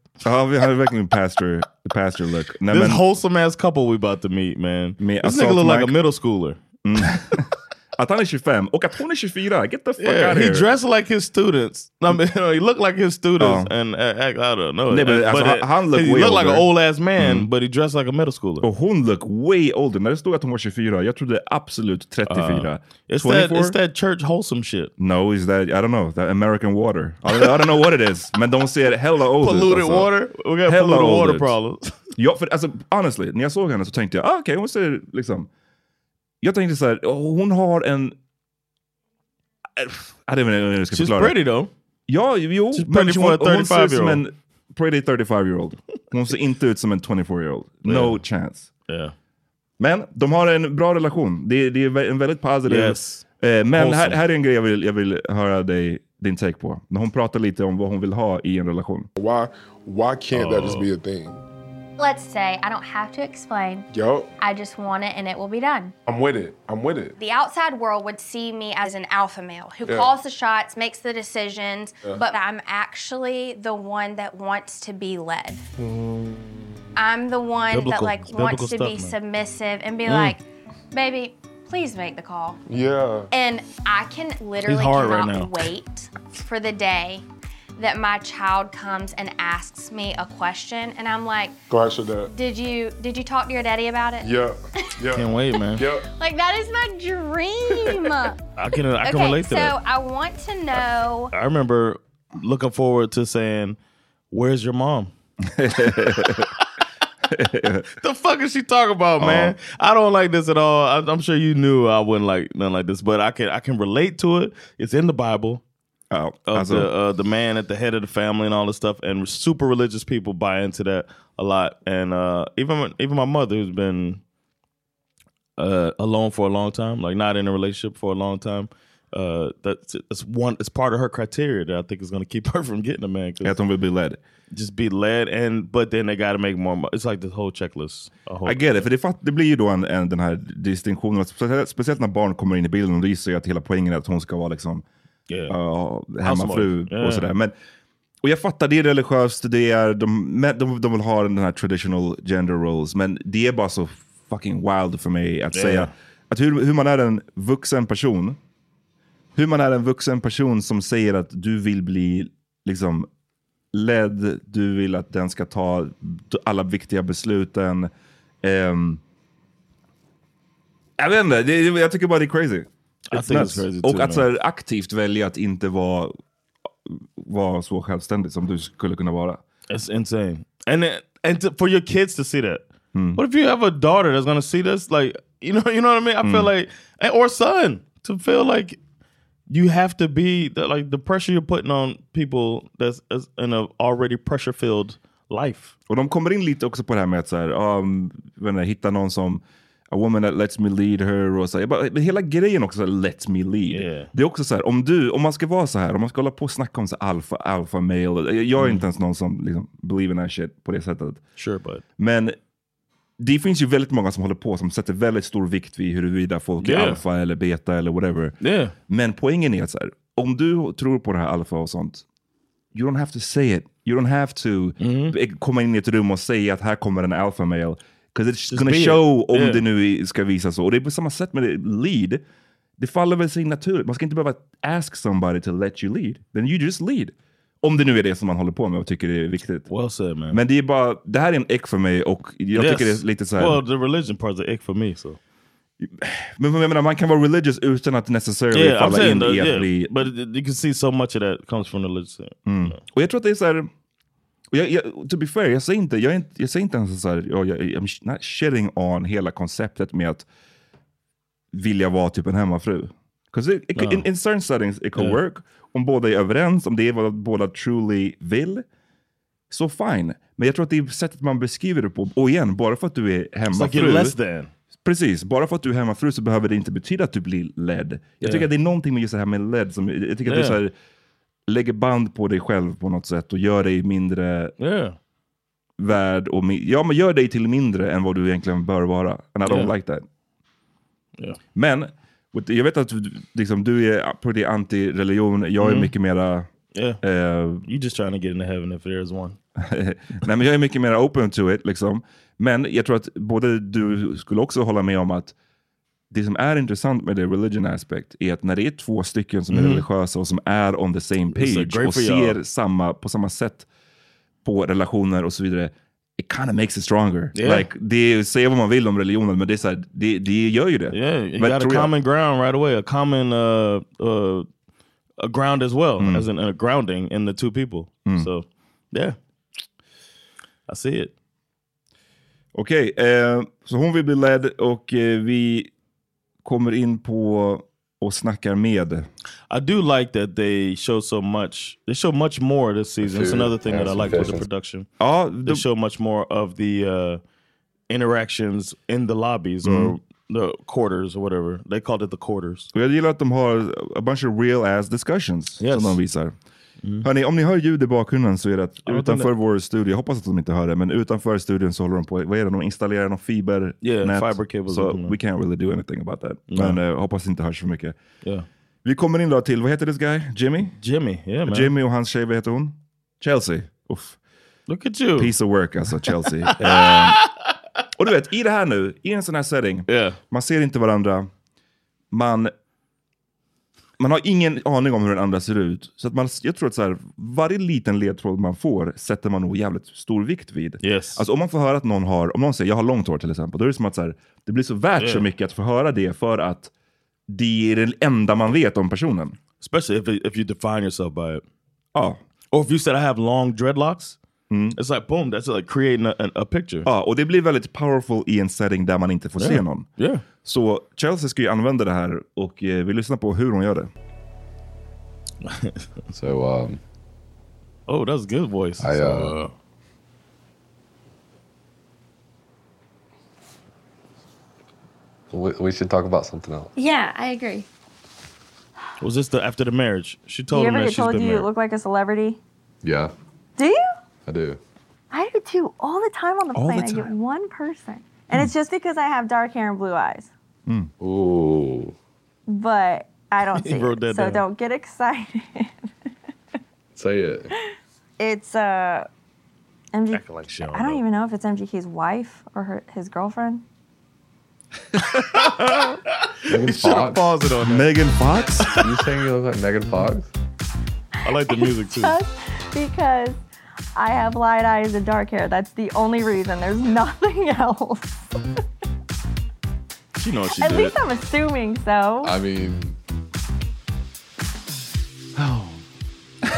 Ja, vi hade verkligen pastor, pastor look. Nej, [LAUGHS] this men, wholesome ass couple we about to meet man. this assault nigga look like a Mike. Mm. middle schooler. [LAUGHS] att han är 25 och att hon är 24. Get the fuck out of he here. dressed like his students. I mean, [LAUGHS] he looked like his students Oh. and uh, act, I don't know. Nej, men alltså, han- it- han look he way looked like an older. old ass man, Mm. but he dressed like a middle schooler. Och hon look way older. När det stod att hon var 24, jag trodde absolut Uh, 34. it's that- it's that church wholesome shit. No, is that, I don't know, that American water. I don't, I don't know what it is, men de ser hella older ut, Polluted water? We got Hella polluted water older ut. problems. ja, för alltså honestly, när jag såg henne så tänkte jag, ah, okej, hon ser liksom... Jag tänkte så här, hon har en... Äh, Jag vet inte hur jag ska She's förklara. pretty though. Ja, jo. She's men pretty for a hon, hon ser 35 ut som year old. en pretty 35 year old. Hon ser inte ut som en 24 year old. No Yeah. chance. Yeah. Men de har en bra relation. Det, är- det är vä- en väldigt positiv... Yes. Eh, men här, Wholesome. här är en grej jag vill, jag vill höra dig, din take på. När hon pratar lite om vad hon vill ha i en relation. Why, why can't that just Oh. be a thing? Let's say I don't have to explain. Yo, I just want it and it will be done. I'm with it. I'm with it. The outside world would see me as an alpha male who Yeah. calls the shots, makes the decisions, Yeah. but I'm actually the one that wants to be led. I'm the one that Biblical- like biblical wants to be stuff, man. submissive and be Mm. like, baby, please make the call. Yeah. And I can literally hard right cannot now. wait for the day that my child comes and asks me a question and I'm like, Go ask your dad. did you did you talk to your daddy about it? Yeah. Yeah. Can't wait, man. Yeah. Like that is my dream. [LAUGHS] I can I can okay, relate to so that. I want to know I remember looking forward to saying, "Where's your [LAUGHS] mom?" the fuck is she talking about, man? Uh-huh. I don't like this at all. I, I'm sure you knew I wouldn't like nothing like this, but I can I can relate to it. It's in the Bible. Oh, of alltså- the uh, the man at the head of the family and all this stuff, and super religious people buy into that a lot, and uh, even even my mother who's been uh, alone for a long time, like not in a relationship for a long time. Uh, that's that's one. It's part of her criteria that I think is going to keep [LAUGHS] her from getting a man. That's gonna be led. Just be led, and but then they got to make more. mo- It's like this whole checklist. a whole- I get it, för det, fatt, det blir ju då en, en, den här distinktionen, speciellt, speciellt när barn kommer in i bilden och lyser att hela poängen är att hon ska vara liksom ja, hemmafru Housewife. och Ja. sådär. Men, och jag fattar, det är religiöst, det är, de, men de, de vill ha den här traditional gender roles, men det är bara så fucking wild för mig att Ja. säga att hur, hur man är en vuxen person, hur man är en vuxen person som säger att du vill bli liksom ledd, du vill att den ska ta alla viktiga besluten. Ehm, jag vet inte, det, jag tycker bara det är crazy. I It's think nuts. it's crazy Och too, att så man. här, aktivt välja att inte vara, vara så självständig som du skulle kunna vara. It's insane. And then, and to, for your kids to see that. Mm. What if you have a daughter that's gonna see this? Like, you know, [LAUGHS] you know what I mean? I feel Mm. like, and- or son, to feel like you have to be that, like the pressure you're putting on people that's, that's in a already pressure filled life. Och de kommer in lite också på det här med att så här, um, jag vet inte, hitta någon som A woman that lets me lead her. Och så här, jag bara, men hela grejen också, så här, let me lead. Det är också så här, om, du, om man ska vara så här, om man ska hålla på och snacka om så här, alpha, alpha male. Jag jag är inte ens någon som liksom, believe in that shit på det sättet. Sure, bud. Men det finns ju väldigt många som håller på som sätter väldigt stor vikt vid huruvida folk Yeah. är alfa eller beta eller whatever. Yeah. Men poängen är att så här, om du tror på det här alfa och sånt, you don't have to say it. You don't have to Mm. eh, komma in i ett rum och säga att här kommer en alpha male. Because it's gonna be it. show om Yeah. det nu ska visas så. Och det är på samma sätt med det, lead. Det faller väl sig naturligt. Man ska inte behöva ask somebody to let you lead. Then you just lead. Om det nu är det som man håller på med och tycker det är viktigt. Well said, man. Men det är bara, det här är en äck för mig och jag tycker det är lite så här. Well, the religion part's an ick for me, so. men jag menar, man kan vara religious utan att necessarily Yeah, I'm falla in saying though, i att yeah. bli But you can see so much of that comes from the religion. Mm. Och jag tror att det är så här... Och jag, jag, to be fair, jag säger inte, jag är inte, jag säger inte ens så här... Jag, jag, I'm not shitting on hela konceptet med att vilja vara typ en hemmafru. 'Cause It, it, No. in, in certain settings it can Yeah. work. Om båda är överens, om det är vad båda truly vill, så fine. Men jag tror att det är sättet man beskriver det på. Och igen, bara för att du är hemmafru. like you're less than. Precis, bara för att du är hemmafru så behöver det inte betyda att du blir led. Jag Yeah. tycker att det är någonting med just det här med led som, jag tycker Yeah. att du så här, lägger band på dig själv på något sätt och gör dig mindre Yeah. värd. Och mi- ja, men gör dig till mindre än vad du egentligen bör vara. And I don't Yeah. like that. Yeah. Men with- jag vet att du- liksom, du är pretty anti-religion. Jag är Mm. mycket mera eh, You just trying to get into heaven if there is one. [LAUGHS] Nej, men jag är mycket mer open to it. Liksom. Men jag tror att både du skulle också hålla med om att det som är intressant med the religion aspect är att när det är två stycken som är Mm. religiösa och som är on the same It's a page great och for y'all. ser samma, på samma sätt på relationer och så vidare, it kind of makes it stronger. Yeah. Like, det är, säga vad man vill om religionen, men det, är så här, det, det gör ju det. Yeah, you Men got a tror jag- common ground right away, a common uh, uh, a ground as well as in a grounding in the two people. Mm. So, yeah, I see it. Okej, eh, så hon vill bli ledd och eh, vi kommer in på och snackar med. I do like that they show so much. They show much more this season. It's Food another thing and that I some like with the visions. production. Oh, they show much more of the uh, interactions in the lobbies or Mhm. the quarters or whatever. They called it the quarters. Och jag gillar att de har a bunch of real ass discussions som de visar. Hörni, om ni hör ljud i bakgrunden så är det att Mm. Ja, vänta utanför nu. vår studio, jag hoppas att de inte hör det, men utanför studion så håller de på, vad är det, de installerar någon fibernät. Yeah, fiber cables so och sånt där. we can't really do anything about that. Nej. Men eh, hoppas det inte hörs för mycket. Yeah. Vi kommer in då till, vad heter this guy? Jimmy? Jimmy, yeah man. Jimmy och hans tjej, vad heter hon? Chelsea. Uff. Look at you. Piece of work alltså, [LAUGHS] Chelsea. Ehm, och du vet, i det här nu, i en sån här setting, man ser inte varandra, man, man har ingen aning om hur den andra ser ut. Så att man, jag tror att så här, varje liten ledtråd man får sätter man nog jävligt stor vikt vid. Yes. Alltså om man får höra att någon har, om någon säger jag har långt hår till exempel, då är det som att så här, det blir så värt så Yeah. mycket att få höra det för att det är det enda man vet om personen. especially if if you define yourself by it. Oh, or if you said I have long dreadlocks, it's like boom, that's like creating a, an- a picture. Mm. Ja, och det blir väldigt powerful i en setting där man inte får se Yeah. någon. Yeah. Så Chelsea ska ju använda det här och eh, vi lyssnar på hur hon gör det. [LAUGHS] So, um, oh, that's a good voice. I, So, uh, we, we should talk about something else. Yeah, I agree. was this the after the marriage? She Do told you him ever that get she's told been you married. look like a celebrity? Yeah, Do you? I do. I do too. All the time on the All the plane, I get one [LAUGHS] person, and it's just because I have dark hair and blue eyes. Hmm. Ooh. But [LAUGHS] I don't He see. wrote it, that so down. don't get excited. [LAUGHS] Say it. It's uh, MG. like she I don't even know if it's MGK's wife or her, [LAUGHS] his girlfriend. [LAUGHS] Megan Fox. Megan Fox? [LAUGHS] you saying you look like Megan Fox? I like the music too. Just because I have light eyes and dark hair. That's the only reason. There's [LAUGHS] nothing else. she knows Oh, she At did least it. I'm assuming so. I [SIGHS] mean,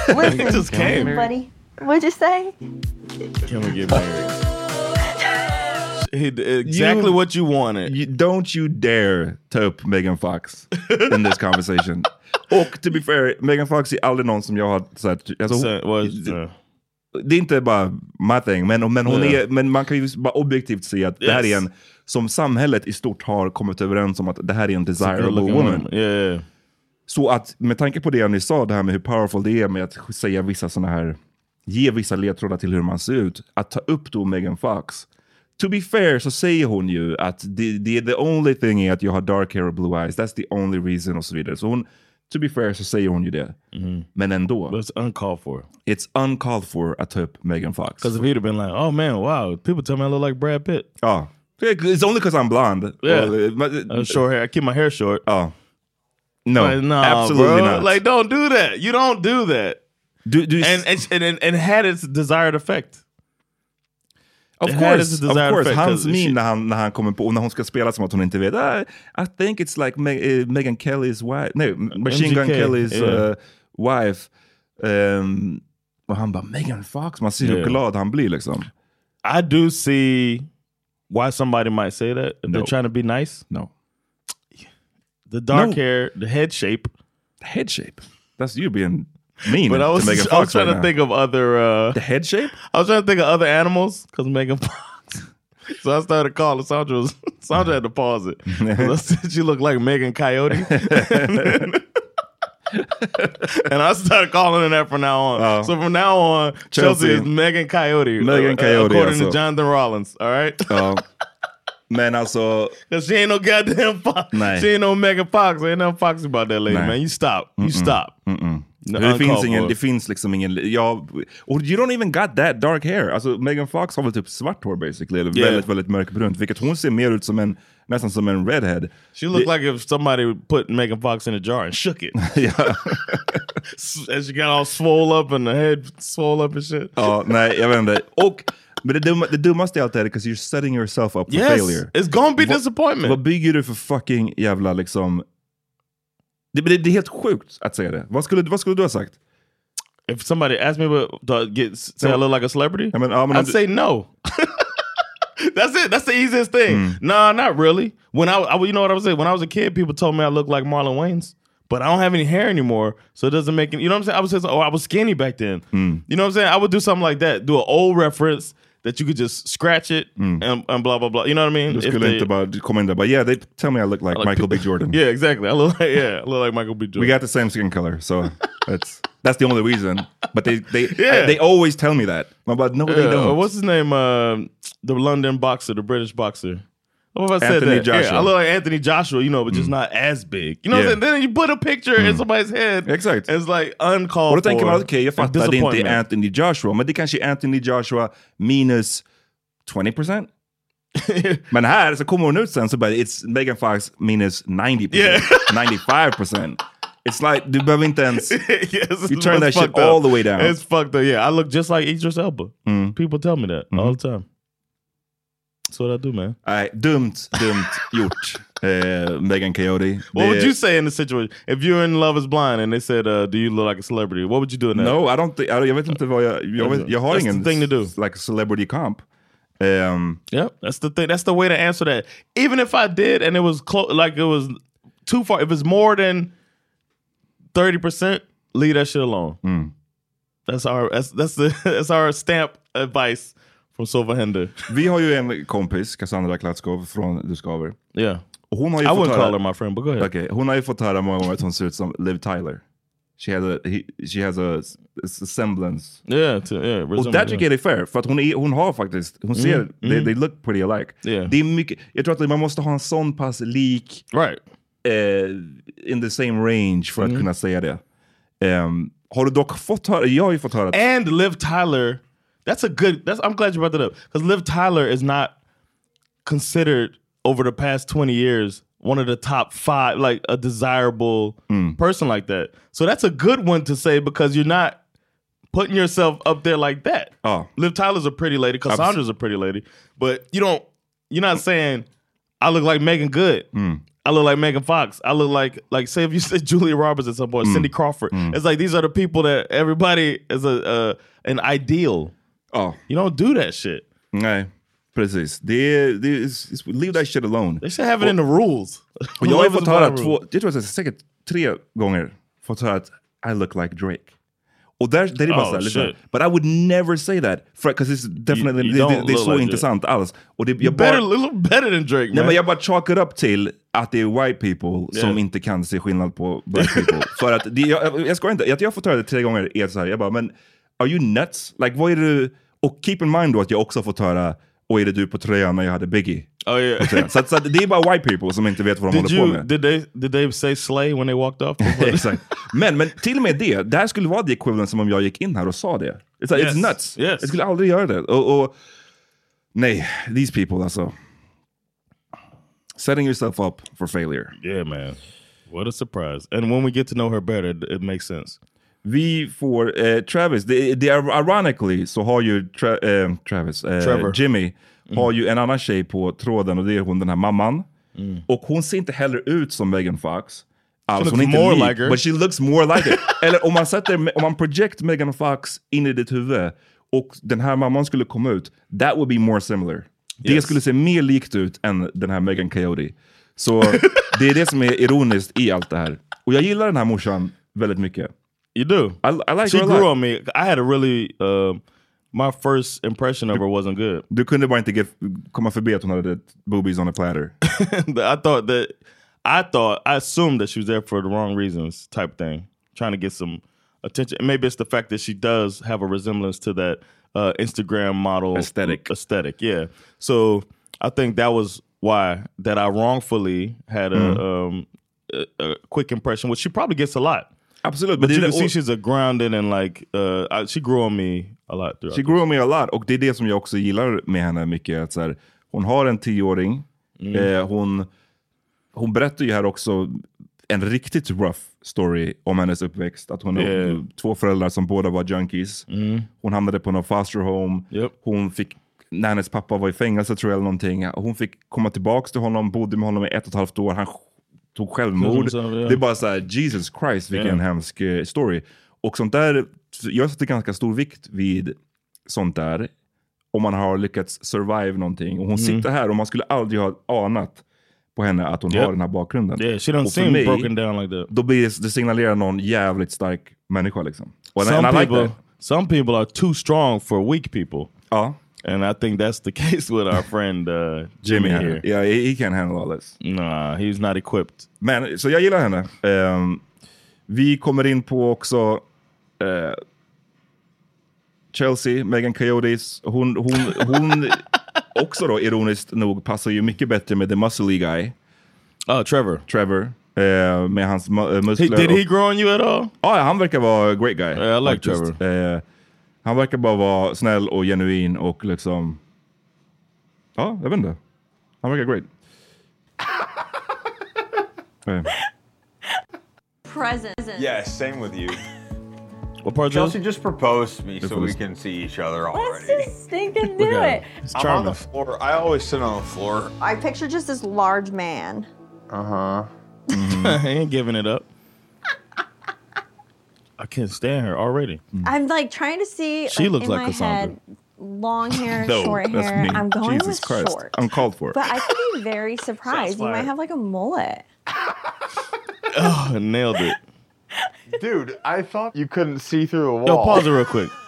Listen, It just came. buddy. What'd you say? Can we get married? He did exactly what you wanted. don't you dare ta upp Megan Fox in this [LAUGHS] conversation. och to be fair, Megan Fox är aldrig någon som jag har... Så här, alltså, Så, vad- det, det är inte bara my thing, men, men, hon Ja. är, men man kan ju bara objektivt se att det här är Yes. en... Som samhället i stort har kommit överens om att det här är en a desirable good-looking woman. woman. Så att med tanke på det ni sa, det här med hur powerful det är med att säga vissa sådana här... Ge vissa ledtrådar till hur man ser ut. Att ta upp då Megan Fox. To be fair så säger hon ju att the, the, the only thing är att jag har dark hair och blue eyes. That's the only reason och så vidare. Så hon, to be fair så säger hon ju det. Men ändå. But it's Mm-hmm. uncalled for. It's uncalled for att ta upp Megan Fox. Because if he'd have been like, oh man, wow, people tell me I look like Brad Pitt. Oh. It's only because I'm blonde. eh, Yeah. Well, it- but- Uh, short hair. I keep my hair short. Oh. No, Like, nah, Oh, absolutely bro. not. Like, don't do that. You don't do that. Do, do and, and, and, and, and had its desired effect. Of It had its course, of desired course. effect, hans 'cause min she- när han, när han kommer på, och när hon ska spela som att hon inte vet. "Ah, I think it's like Me eh, Megan Kelly's wife, nej, Machine Gun MGK, Kellys yeah. eh, wife. Ehm, och han bara, Megan Fox, man ser hur Yeah. glad han blir liksom. I do see why somebody might say that. If They're No. trying to be nice. No. The dark No. hair, the head shape. The head shape. That's you being mean But I to was, I Megan was Fox trying right to now. think of other. Uh, the head shape? I was trying to think of other animals because Megan Fox. [LAUGHS] so I started calling Sandra. [LAUGHS] Was, Sandra had to pause [LAUGHS] it. 'Cause I said, she looked like Megan Coyote. [LAUGHS] and I started calling her that from now on. Oh. so from now on, Chelsea, Chelsea. is Megan Coyote. Megan uh, Coyote, Oh. According to alltså. Jonathan Rollins. All right? Ja. [LAUGHS] Men alltså, Because she ain't no goddamn fox. Nej. She ain't no Megan Fox. Ain't nothing foxy about that lady, Nej. man. You stop. You Mm-mm. stop. Mm-mm. det, finns uncalled ingen, for. det finns liksom ingen... Ja, och you don't even got that dark hair. Alltså Megan Fox har väl typ svart hår basically, eller Yeah. väldigt, väldigt mörkbrunt. Vilket hon ser mer ut som en, nästan som en redhead. She looked like if somebody put Megan Fox in a jar and shook it. [LAUGHS] [LAUGHS] yeah. and she got all swole up and the head swole up and shit. Ja, nej, jag vet inte. Och, men det, dumma, det dummaste i allt är because you're setting yourself up for Yes, failure. it's gonna be Vad- disappointment. Vad bygger du för fucking jävla liksom... Det, det, det är helt sjukt att säga det. Vad skulle, vad skulle du ha sagt? If somebody asked me what, do I get, say I look like a celebrity, I mean, I'm I'd say no. That's it. That's the easiest thing. Hmm. Nah, not really. When I, I, you know what I was saying? When I was a kid, people told me I looked like Marlon Wayans, but I don't have any hair anymore, so it doesn't make any. You know what I'm saying? I was saying, oh, I was skinny back then. Hmm. You know what I'm saying? I would do something like that. Do an old reference that you could just scratch it Hmm. and, and blah blah blah. You know what I mean? Du If skulle they- inte bara komma in där och bara yeah, they tell me I look like like Michael [LAUGHS] B. Jordan. yeah, exactly. I look like yeah, I look like Michael B. Jordan. We got the same skin [LAUGHS] color, so that's that's the only reason. But they they Yeah. they always tell me that. I'm about no, they Yeah, don't. What's his name? Uh, the London boxer, the British boxer. What if I said Anthony that? Yeah, Joshua. Hmm. I look like Anthony Joshua, you know, but just not as big. You know Yeah. Hmm. what I'm saying? Then you put a picture in somebody's head. Exakt. It's like uncalled Och då tänker for man, okej, jag and fattar, det är inte disappointment. Anthony Joshua, men det kanske är Anthony Joshua minus [LAUGHS] 20%? men här så kommer hon ut sen så bara, it's Megan Fox minus 90%, 95%. It's like, du behöver [LAUGHS] inte ens... Yes, you turn that it's shit fucked all up. the way down. Mm. Hmm. It's fucked up. Yeah, I look just like Idris Elba. People tell me that all the time. That's what I do, man. Nej, dumt, dumt [LAUGHS] gjort. Eh, Megan Coyote. What Det- would you say in the situation if you're in Love Is Blind and they said, uh, "Do you look like a celebrity?" What would you do in that? No, I don't think, oh, I, jag vet inte vad jag, jag, vet, jag har That's ingen the thing to do. like celebrity comp. Um, Yep, that's the thing. That's the way to answer that. Even if I did, and it was close, like it was too far. If it's more than thirty percent, leave that shit alone. That's our that's that's the [LAUGHS] that's our stamp advice from Silverhander. Vi har ju en kompis, Cassandra Klatskov från Discover. Yeah. Och hon har ju I fått wouldn't höra, call her my friend, but go ahead. Okej, hon har ju fått höra många gånger att hon ser ut som Liv Tyler. She has a, he, she has a, s- s- semblance. Yeah, to, yeah. Och där tycker jag det är fair, för att hon, är, hon har faktiskt, hon ser, Mm, They, mm. they look pretty alike. Det är mycket, jag tror att man måste ha en sån pass lik eh, in the same range för Mm. att kunna säga det. Ehm, har du dock fått höra, jag har ju fått höra att And Liv Tyler, that's a good. That's I'm glad you brought that up because Liv Tyler is not considered over the past 20 years one of the top five, like a desirable person like that. So that's a good one to say because you're not putting yourself up there like that. Oh. Liv Tyler's a pretty lady. Cassandra's a pretty lady, but you don't. You're not saying I look like Megan Good. I look like Megan Fox. I look like like say if you said [LAUGHS] Julia Roberts at some point, Cindy Crawford. Mm. It's like these are the people that everybody is a uh, an ideal. Oh, you don't do that shit. Nej, precis. Det är, det är, it's, it's, leave that shit alone. They should have it in the rules. Och jag har Love ju fått is blind höra rule. två, jag tror att jag säkert tre gånger fått höra att I look like Drake. Och där, där är det bara Oh, såhär, liksom, shit. but I would never say that. Because it's definitely, you det- det, don't det är look så like intressant alls. Och det, You jag better bara, look better than Drake, nej, man. men jag bara chalk it up till att det är white people som Yeah. inte kan se [LAUGHS] skillnad på black people. För att, det, jag, jag- jag skojar inte, jag, jag har fått höra det tre gånger, är så här, jag bara, men are you nuts? Like vad är du, och keep in mind då att jag också har fått höra, och är det du på tröjan när jag hade Biggie? Oh, yeah. På [LAUGHS] tröjan. så att, så att, det är bara white people som inte vet vad de Did håller på you med. did they did they say slay when they walked [LAUGHS] off? Exakt. Men, men till och med det, det här skulle vara det equivalent som om jag gick in här och sa det. It's, like, Yes. it's nuts. Jag skulle aldrig göra det. Och, och, nej, these people alltså. Setting yourself up for failure. Yeah, man. What a surprise. And when we get to know her better, it, it makes sense. Vi får eh, Travis, det, det är ironically så har ju tra, eh, Travis, eh, Trevor. Mm. Jimmy, har ju en annan tjej på tråden och det är hon den här mamman. Mm. Och hon ser inte heller ut som Megan Fox. Alls. Hon är looks inte more lik, like her. but she looks more like it. Eller om man, sätter, om man project Megan Fox in i ditt huvud och den här mamman skulle komma ut, that would be more similar. Det Yes. skulle se mer likt ut än den här Megan Coyote. Så [LAUGHS] det är det som är ironiskt i allt det här. Och jag gillar den här morsan väldigt mycket. You do. I, I like she her a grew lot. on me. I had a really um, my first impression of her wasn't good. Du kunde bara inte ge, komma förbi att hon hade boobies on a platter. [LAUGHS] I thought that I thought I assumed that she was there for the wrong reasons, type thing, trying to get some attention. And maybe it's the fact that she does have a resemblance to that uh, Instagram model aesthetic. Aesthetic, yeah. So I think that was why that I wrongfully had a, Mm. um, a, a quick impression, which she probably gets a lot. Absolut, But men you det är can det- see she's a grounded and like, uh, I- she grew on me a lot throughout. She grew on me a lot. Och det är det som jag också gillar med henne mycket. Att så här, hon har en tioåring. Mm. Eh, hon, hon berättar ju här också en riktigt rough story om hennes uppväxt. Att hon Yeah. har två föräldrar som båda var junkies. Mm. Hon hamnade på någon foster home. Hon fick, när hennes pappa var i fängelse tror jag eller någonting. Hon fick komma tillbaka till honom, bodde med honom i ett och ett halvt år. Han sj- tog självmord. Självmord, ja. Det är bara så här, Jesus Christ vilken Yeah. hemsk eh, story. Och sånt där, jag sätter ganska stor vikt vid sånt där. Om man har lyckats survive någonting. Och hon Mm. sitter här och man skulle aldrig ha anat på henne att hon Yep. har den här bakgrunden. Yeah, she don't och för seem mig, broken down like that. Då blir det, det signalerar någon jävligt stark människa liksom. Och and I- some and I like people, that. some people are too strong for weak people. Oh, and I think that's the [LAUGHS] case with our friend uh, Jimmy Jimmy here. Hanna. Yeah, he, he can't handle all this. Nah, he's not equipped. Men så jag gillar henne. Ehm, vi kommer in på också eh, Chelsea, Megan Coyotes. Hon, hon, [LAUGHS] hon också då ironiskt nog passar ju mycket bättre med the muscly guy. Oh, Trevor. Trevor. eh, med hans mu- eh, muskler. did he och- grow on you at all? Ja, han verkar vara a great guy. I like faktiskt. Eh, han verkar bara vara snäll och genuin och liksom... Ja, jag vet inte. Han verkar [LAUGHS] great. Eh, Present. Yeah, same with you. What part Chelsea just proposed to me This so one we is- can see each other Let's already. just stinking do it. I'm on the floor. I always sit on the floor. I picture just this large man. Uh huh. Uh-huh. [LAUGHS] he ain't giving it up. I can't stand her already. I'm like trying to see. Hmm. She looks in like my Cassandra. head, long hair, [LAUGHS] No, short that's hair. me. I'm going Jesus with Christ. short. Uncalled for. [LAUGHS] But I could be very surprised. You might fired. have like a mullet. oh, nailed it. Dude, I thought you couldn't see through a wall. Yo, pause it real quick. [LAUGHS]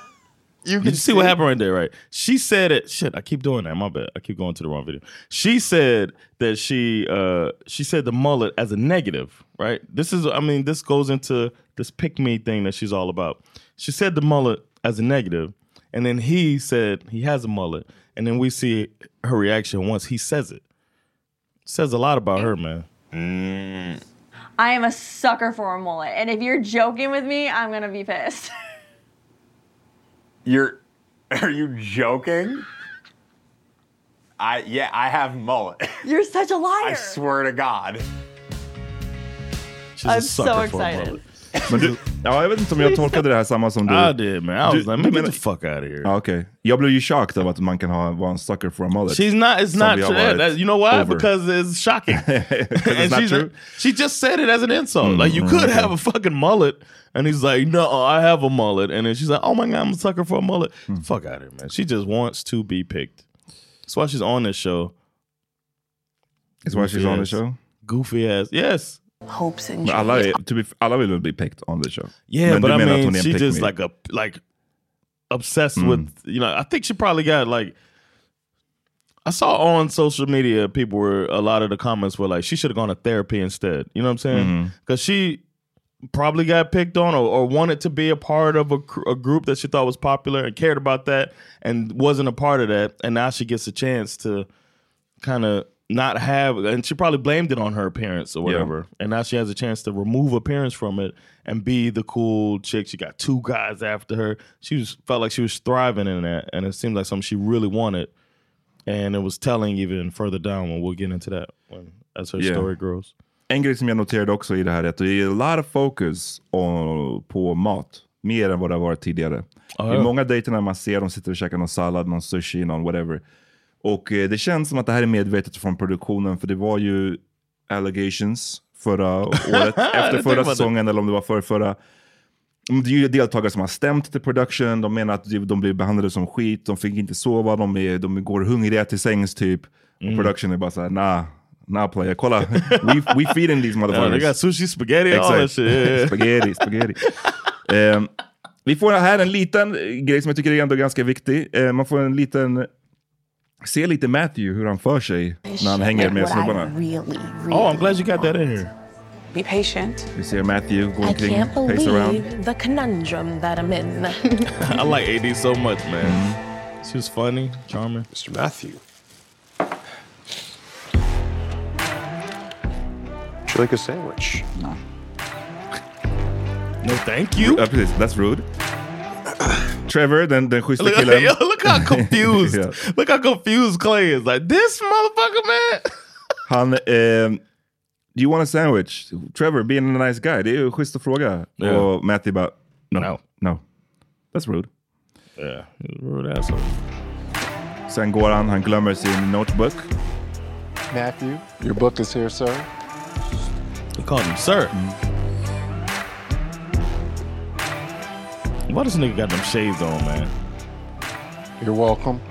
You Did you see, what happened right there, right? She said it. Shit, I keep doing that. My bad. I keep going to the wrong video. She said that she uh she said the mullet as a negative, right? This is I mean, this goes into this pick me thing that she's all about. She said the mullet as a negative, and then he said he has a mullet, and then we see her reaction once he says it. Says a lot about her, man. I am a sucker for a mullet, and if you're joking with me, I'm gonna be pissed. You're. [LAUGHS] Are you joking? I yeah, I have mullet. [LAUGHS] You're such a liar. I swear to God. I'm so excited. Men du, ja, jag vet inte om jag tolkade det här samma som du. I did, man. I was like, man, get the fuck out of here. Ja, okej. Jag blev ju chocked av att man kan ha, vara en sucker for a mullet. She's not. It's Som not vi har true. varit That- you know why? over. Because it's [LAUGHS] shocking. and not she's true? she just said it as an insult. like you mm, could okay. have a fucking mullet, and he's like, "No, I have a mullet." And then she's like, "Oh my god, I'm a sucker for a mullet." Hmm. Fuck out of here, man. She just wants to be picked. That's why she's on this show. That's why she's Goofy on the ass- show? Goofy ass. Yes. Hopes and Men alla, är, to be, alla vill väl bli picked on the show? Yeah, Men but du I menar att mean, hon är en she pick just me? Hmm. like a like obsessed with you know. I think she probably got like. I saw on social media people were a lot of the comments were like she should have gone to therapy instead. You know what I'm Mm-hmm. saying? Because she probably got picked on or, or wanted to be a part of a, cr- a group that she thought was popular and cared about that and wasn't a part of that. And now she gets a chance to kind of not have and she probably blamed it on her appearance or Yeah. whatever and now she has a chance to remove appearance from it and be the cool chick she got two guys after her she was felt like she was thriving in that and it seemed like something she really wanted and it was telling even further down when we'll get into that when as her Yeah. story grows En grej som jag noterade också i det här är att det är a lot of focus on, på mat. Mer än vad det har varit tidigare. Ah, I ja. många dejter när man ser dem sitter och käkar någon sallad, någon sushi, någon whatever. Och eh, det känns som att det här är medvetet från produktionen för det var ju allegations förra [LAUGHS] året, Jag efter tänkte förra på det. säsongen eller om det var förra, förra. Mm, Det är ju deltagare som har stämt till production, de menar att de blir behandlade som skit, de fick inte sova, de, är, de går hungriga till sängs typ. Mm. Och production är bara såhär, nah, nah player, kolla, we, we [LAUGHS] feeding these motherfuckers. Yeah, they got sushi, spaghetti, all that shit, yeah, yeah. [LAUGHS] spaghetti, spaghetti. Ehm, vi får här en liten eh, grej som jag tycker är ändå ganska viktig. Eh, man får en liten, se lite Matthew hur han för sig när han hänger med snubbarna. oh i'm glad you got that in here Be patient. Vi ser Matthew gå I omkring, can't pace around. believe the conundrum that I'm in. i like ad so much man Mm-hmm. she was funny charming mr matthew Would you like a sandwich? No. No thank you. Ja, precis. [CLEARS THROAT] That's rude. Trevor, den, den schyssta Look, killen. look [LAUGHS] how confused. Ja. Look how confused Clay is. Like this motherfucker, man. Han, ehm, do you want a sandwich? Trevor, being a nice guy. Det är ju schysst att fråga. Ja. Och Matty bara, no, No. no. That's rude. Yeah, rude asshole. Sen går han, han glömmer sin notebook. Matthew, your book is here, sir. He called him sir. Why this nigga got them shades on, man? You're welcome.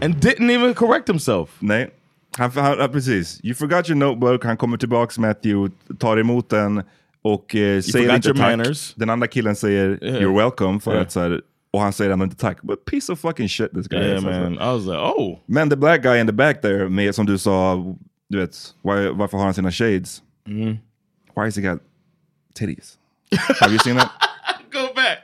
And didn't even correct himself. Nej, han, han, ja, precis. You forgot your notebook. Han kommer tillbaks Matthew, tar emot den och eh, säger forgot inte your tack. manners. Den andra killen säger Yeah. you're welcome för Yeah. att så här, och han säger ändå inte tack. But piece of fucking shit this guy Yeah, is. alltså. man. I was like, oh. Men the black guy in the back there med, som du sa, du vet, why, varför har han sina shades? Mm. Why has he got titties? Have you [LAUGHS] seen that? Go back.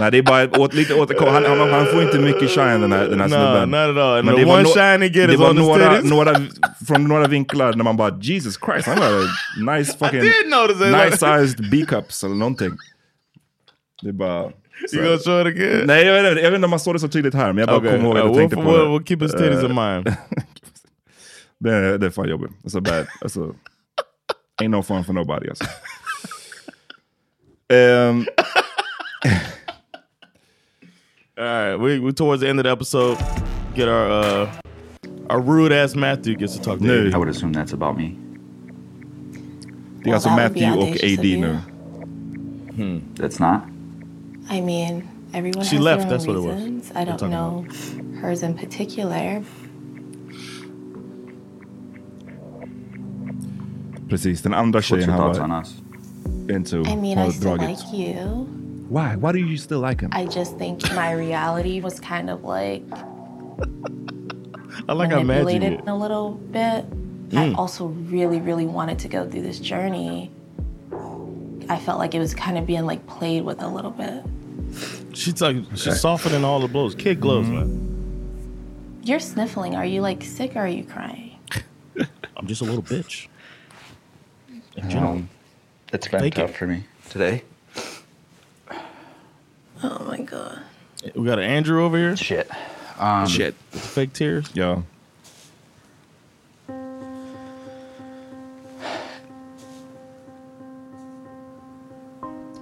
Nej, det är bara åt, lite återkom. Han, han, han får inte mycket shine den här, den här No, snubben. not at all. And Men the det var one shine he get det is var on his några, titties. några, Från några vinklar när man bara Jesus Christ, han har nice fucking... did notice it. Nice sized B-cups eller någonting. Det är bara... så You här. gonna show it again? Nej, jag vet, inte, jag vet inte om man såg det så tydligt här, men jag bara Okay. kom ihåg att Uh, jag we'll- tänkte på we'll- det. we'll keep his titties Eh, in mind. [LAUGHS] det, är, det är fan jobbigt. Alltså, bad. Alltså, ain't no fun for [LAUGHS] nobody. Alltså. Ehm, All right, we we towards the end of the episode. Get our uh our rude ass Matthew gets to talk to No. Eddie. I would assume that's about me. Det är alltså Well, that would be Matthew och audacious of AD you. nu. That's not? I mean, everyone She has left, their own that's what it was. reasons. I don't talking know hers in particular. Precis, den andra your tjejen han thoughts var into I mean, I har still dragit. like you. Why? Why do you still like him? I just think my reality was kind of like I like how Matthew manipulated did. a little bit. Mm. I also really, really wanted to go through this journey. I felt like it was kind of being like played with a little bit. She's like she's softening all the blows. Kid gloves, man. You're sniffling. Are you like sick or are you crying? I'm just a little bitch. Um, it's been tough for me today. Oh my god. We got an Andrew over here. Shit. Um, Shit. Fake tears. Yeah.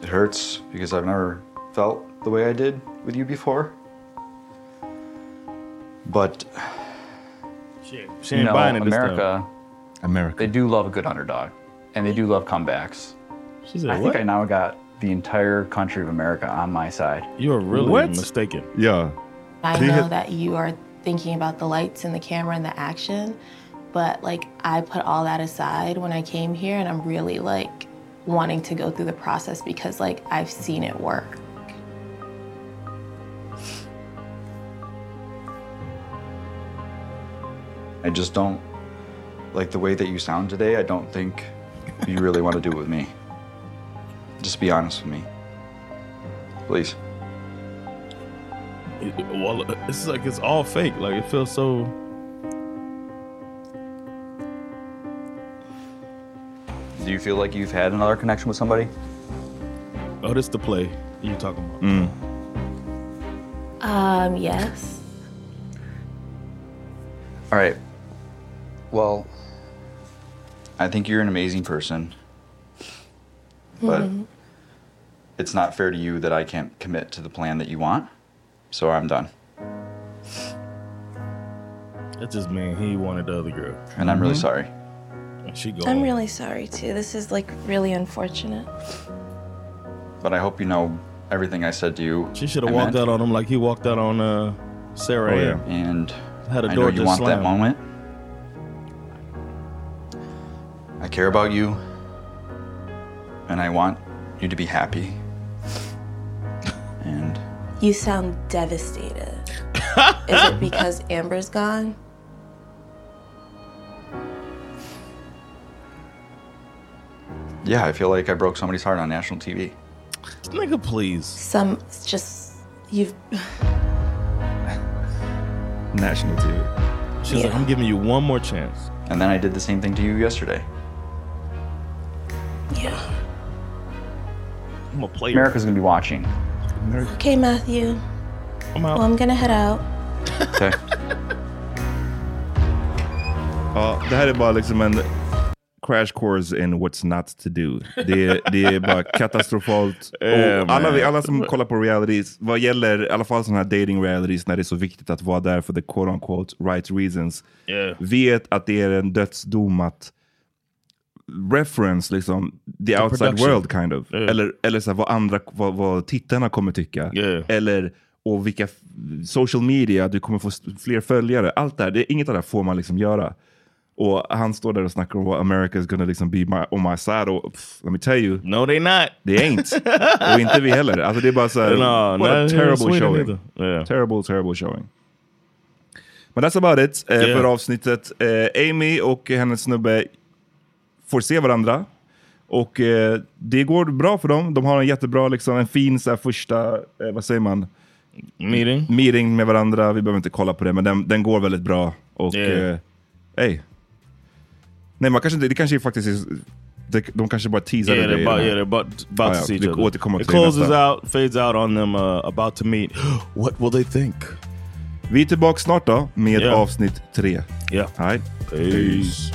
It hurts because I've never felt the way I did with you before. But Shit. She you ain't know, buying it this time. America, America, they do love a good underdog, and they do love comebacks. She said, I "What?" think I now got the entire country of America on my side. You are really What? mistaken. Yeah. I Can you know hit- that you are thinking about the lights and the camera and the action, but like I put all that aside when I came here and I'm really like wanting to go through the process because like I've seen it work. I just don't like the way that you sound today. I don't think you really want to do it with me. Just be honest with me, please. It- well, it's like it's all fake. Like it feels so. Do you feel like you've had another connection with somebody? Oh, this the play you talking about? Um, yes. All right. Well, I think you're an amazing person. But Mm-hmm. Mhm. it's not fair to you that I can't commit to the plan that you want. So I'm done. That just mean he wanted the other girl. And I'm really sorry. Mm-hmm. She going. I'm really sorry too. This is like really unfortunate. But I hope you know everything I said to you. She should have walked out on him like he walked out on uh, Oh, Sarah. Ann. And Had a I door know you just want that slammed. moment. I care about you. And I want you to be happy. And You sound devastated. is it because Amber's gone? yeah, I feel like I broke somebody's heart on national TV. Nigga, please. Some it's just you've [SIGHS] National TV. She's like, I'm giving you one more chance. And then I did the same thing to you yesterday. Yeah. I'm a player. America's gonna be watching. Okay, Matthew. I'm Well, I'm gonna head out. Okay. Ja, det här är bara liksom en crash course in what's not to do. Det är, det är [LAUGHS] bara katastrofalt. Eh, Och alla, vi- man. alla som kollar på realities, vad gäller i alla fall sådana här dating realities när det är så viktigt att vara där för the quote unquote right reasons, Yeah. vet att det är en dödsdom att reference liksom the, The outside production. world kind of. Eh. Eller, eller så här, vad, andra, vad, vad tittarna kommer tycka. Eh. Eller och vilka f- social media, du kommer få s- fler följare. Allt det här, det, inget av det här får man liksom göra. Och han står där och snackar om vad America is gonna liksom be my, on my side. Och pff, let me tell you. No they not. They [LAUGHS] ain't. och inte vi heller. Alltså det är bara så här, No, what a not here in terrible Sweden showing. either. Terrible, terrible showing. Men that's about it eh, Yeah. för avsnittet. Eh, Amy och hennes snubbe får se varandra. Och eh, det går bra för dem. De har en jättebra, liksom, en fin så här, första, eh, vad säger man? Meeting. Meeting med varandra. Vi behöver inte kolla på det, men den, den går väldigt bra. Och Yeah. eh, hey. Nej, man kanske inte, det kanske faktiskt är, de, de kanske bara teasade Yeah, det. they're about, yeah, they're about, about Oh, Ah, to ja, see each vi other. återkommer it till det closes nästa. out, fades out on them uh, about to meet. [GASPS] What will they think? Vi är tillbaka snart då med Yeah. avsnitt tre. Yeah. Hej. Peace.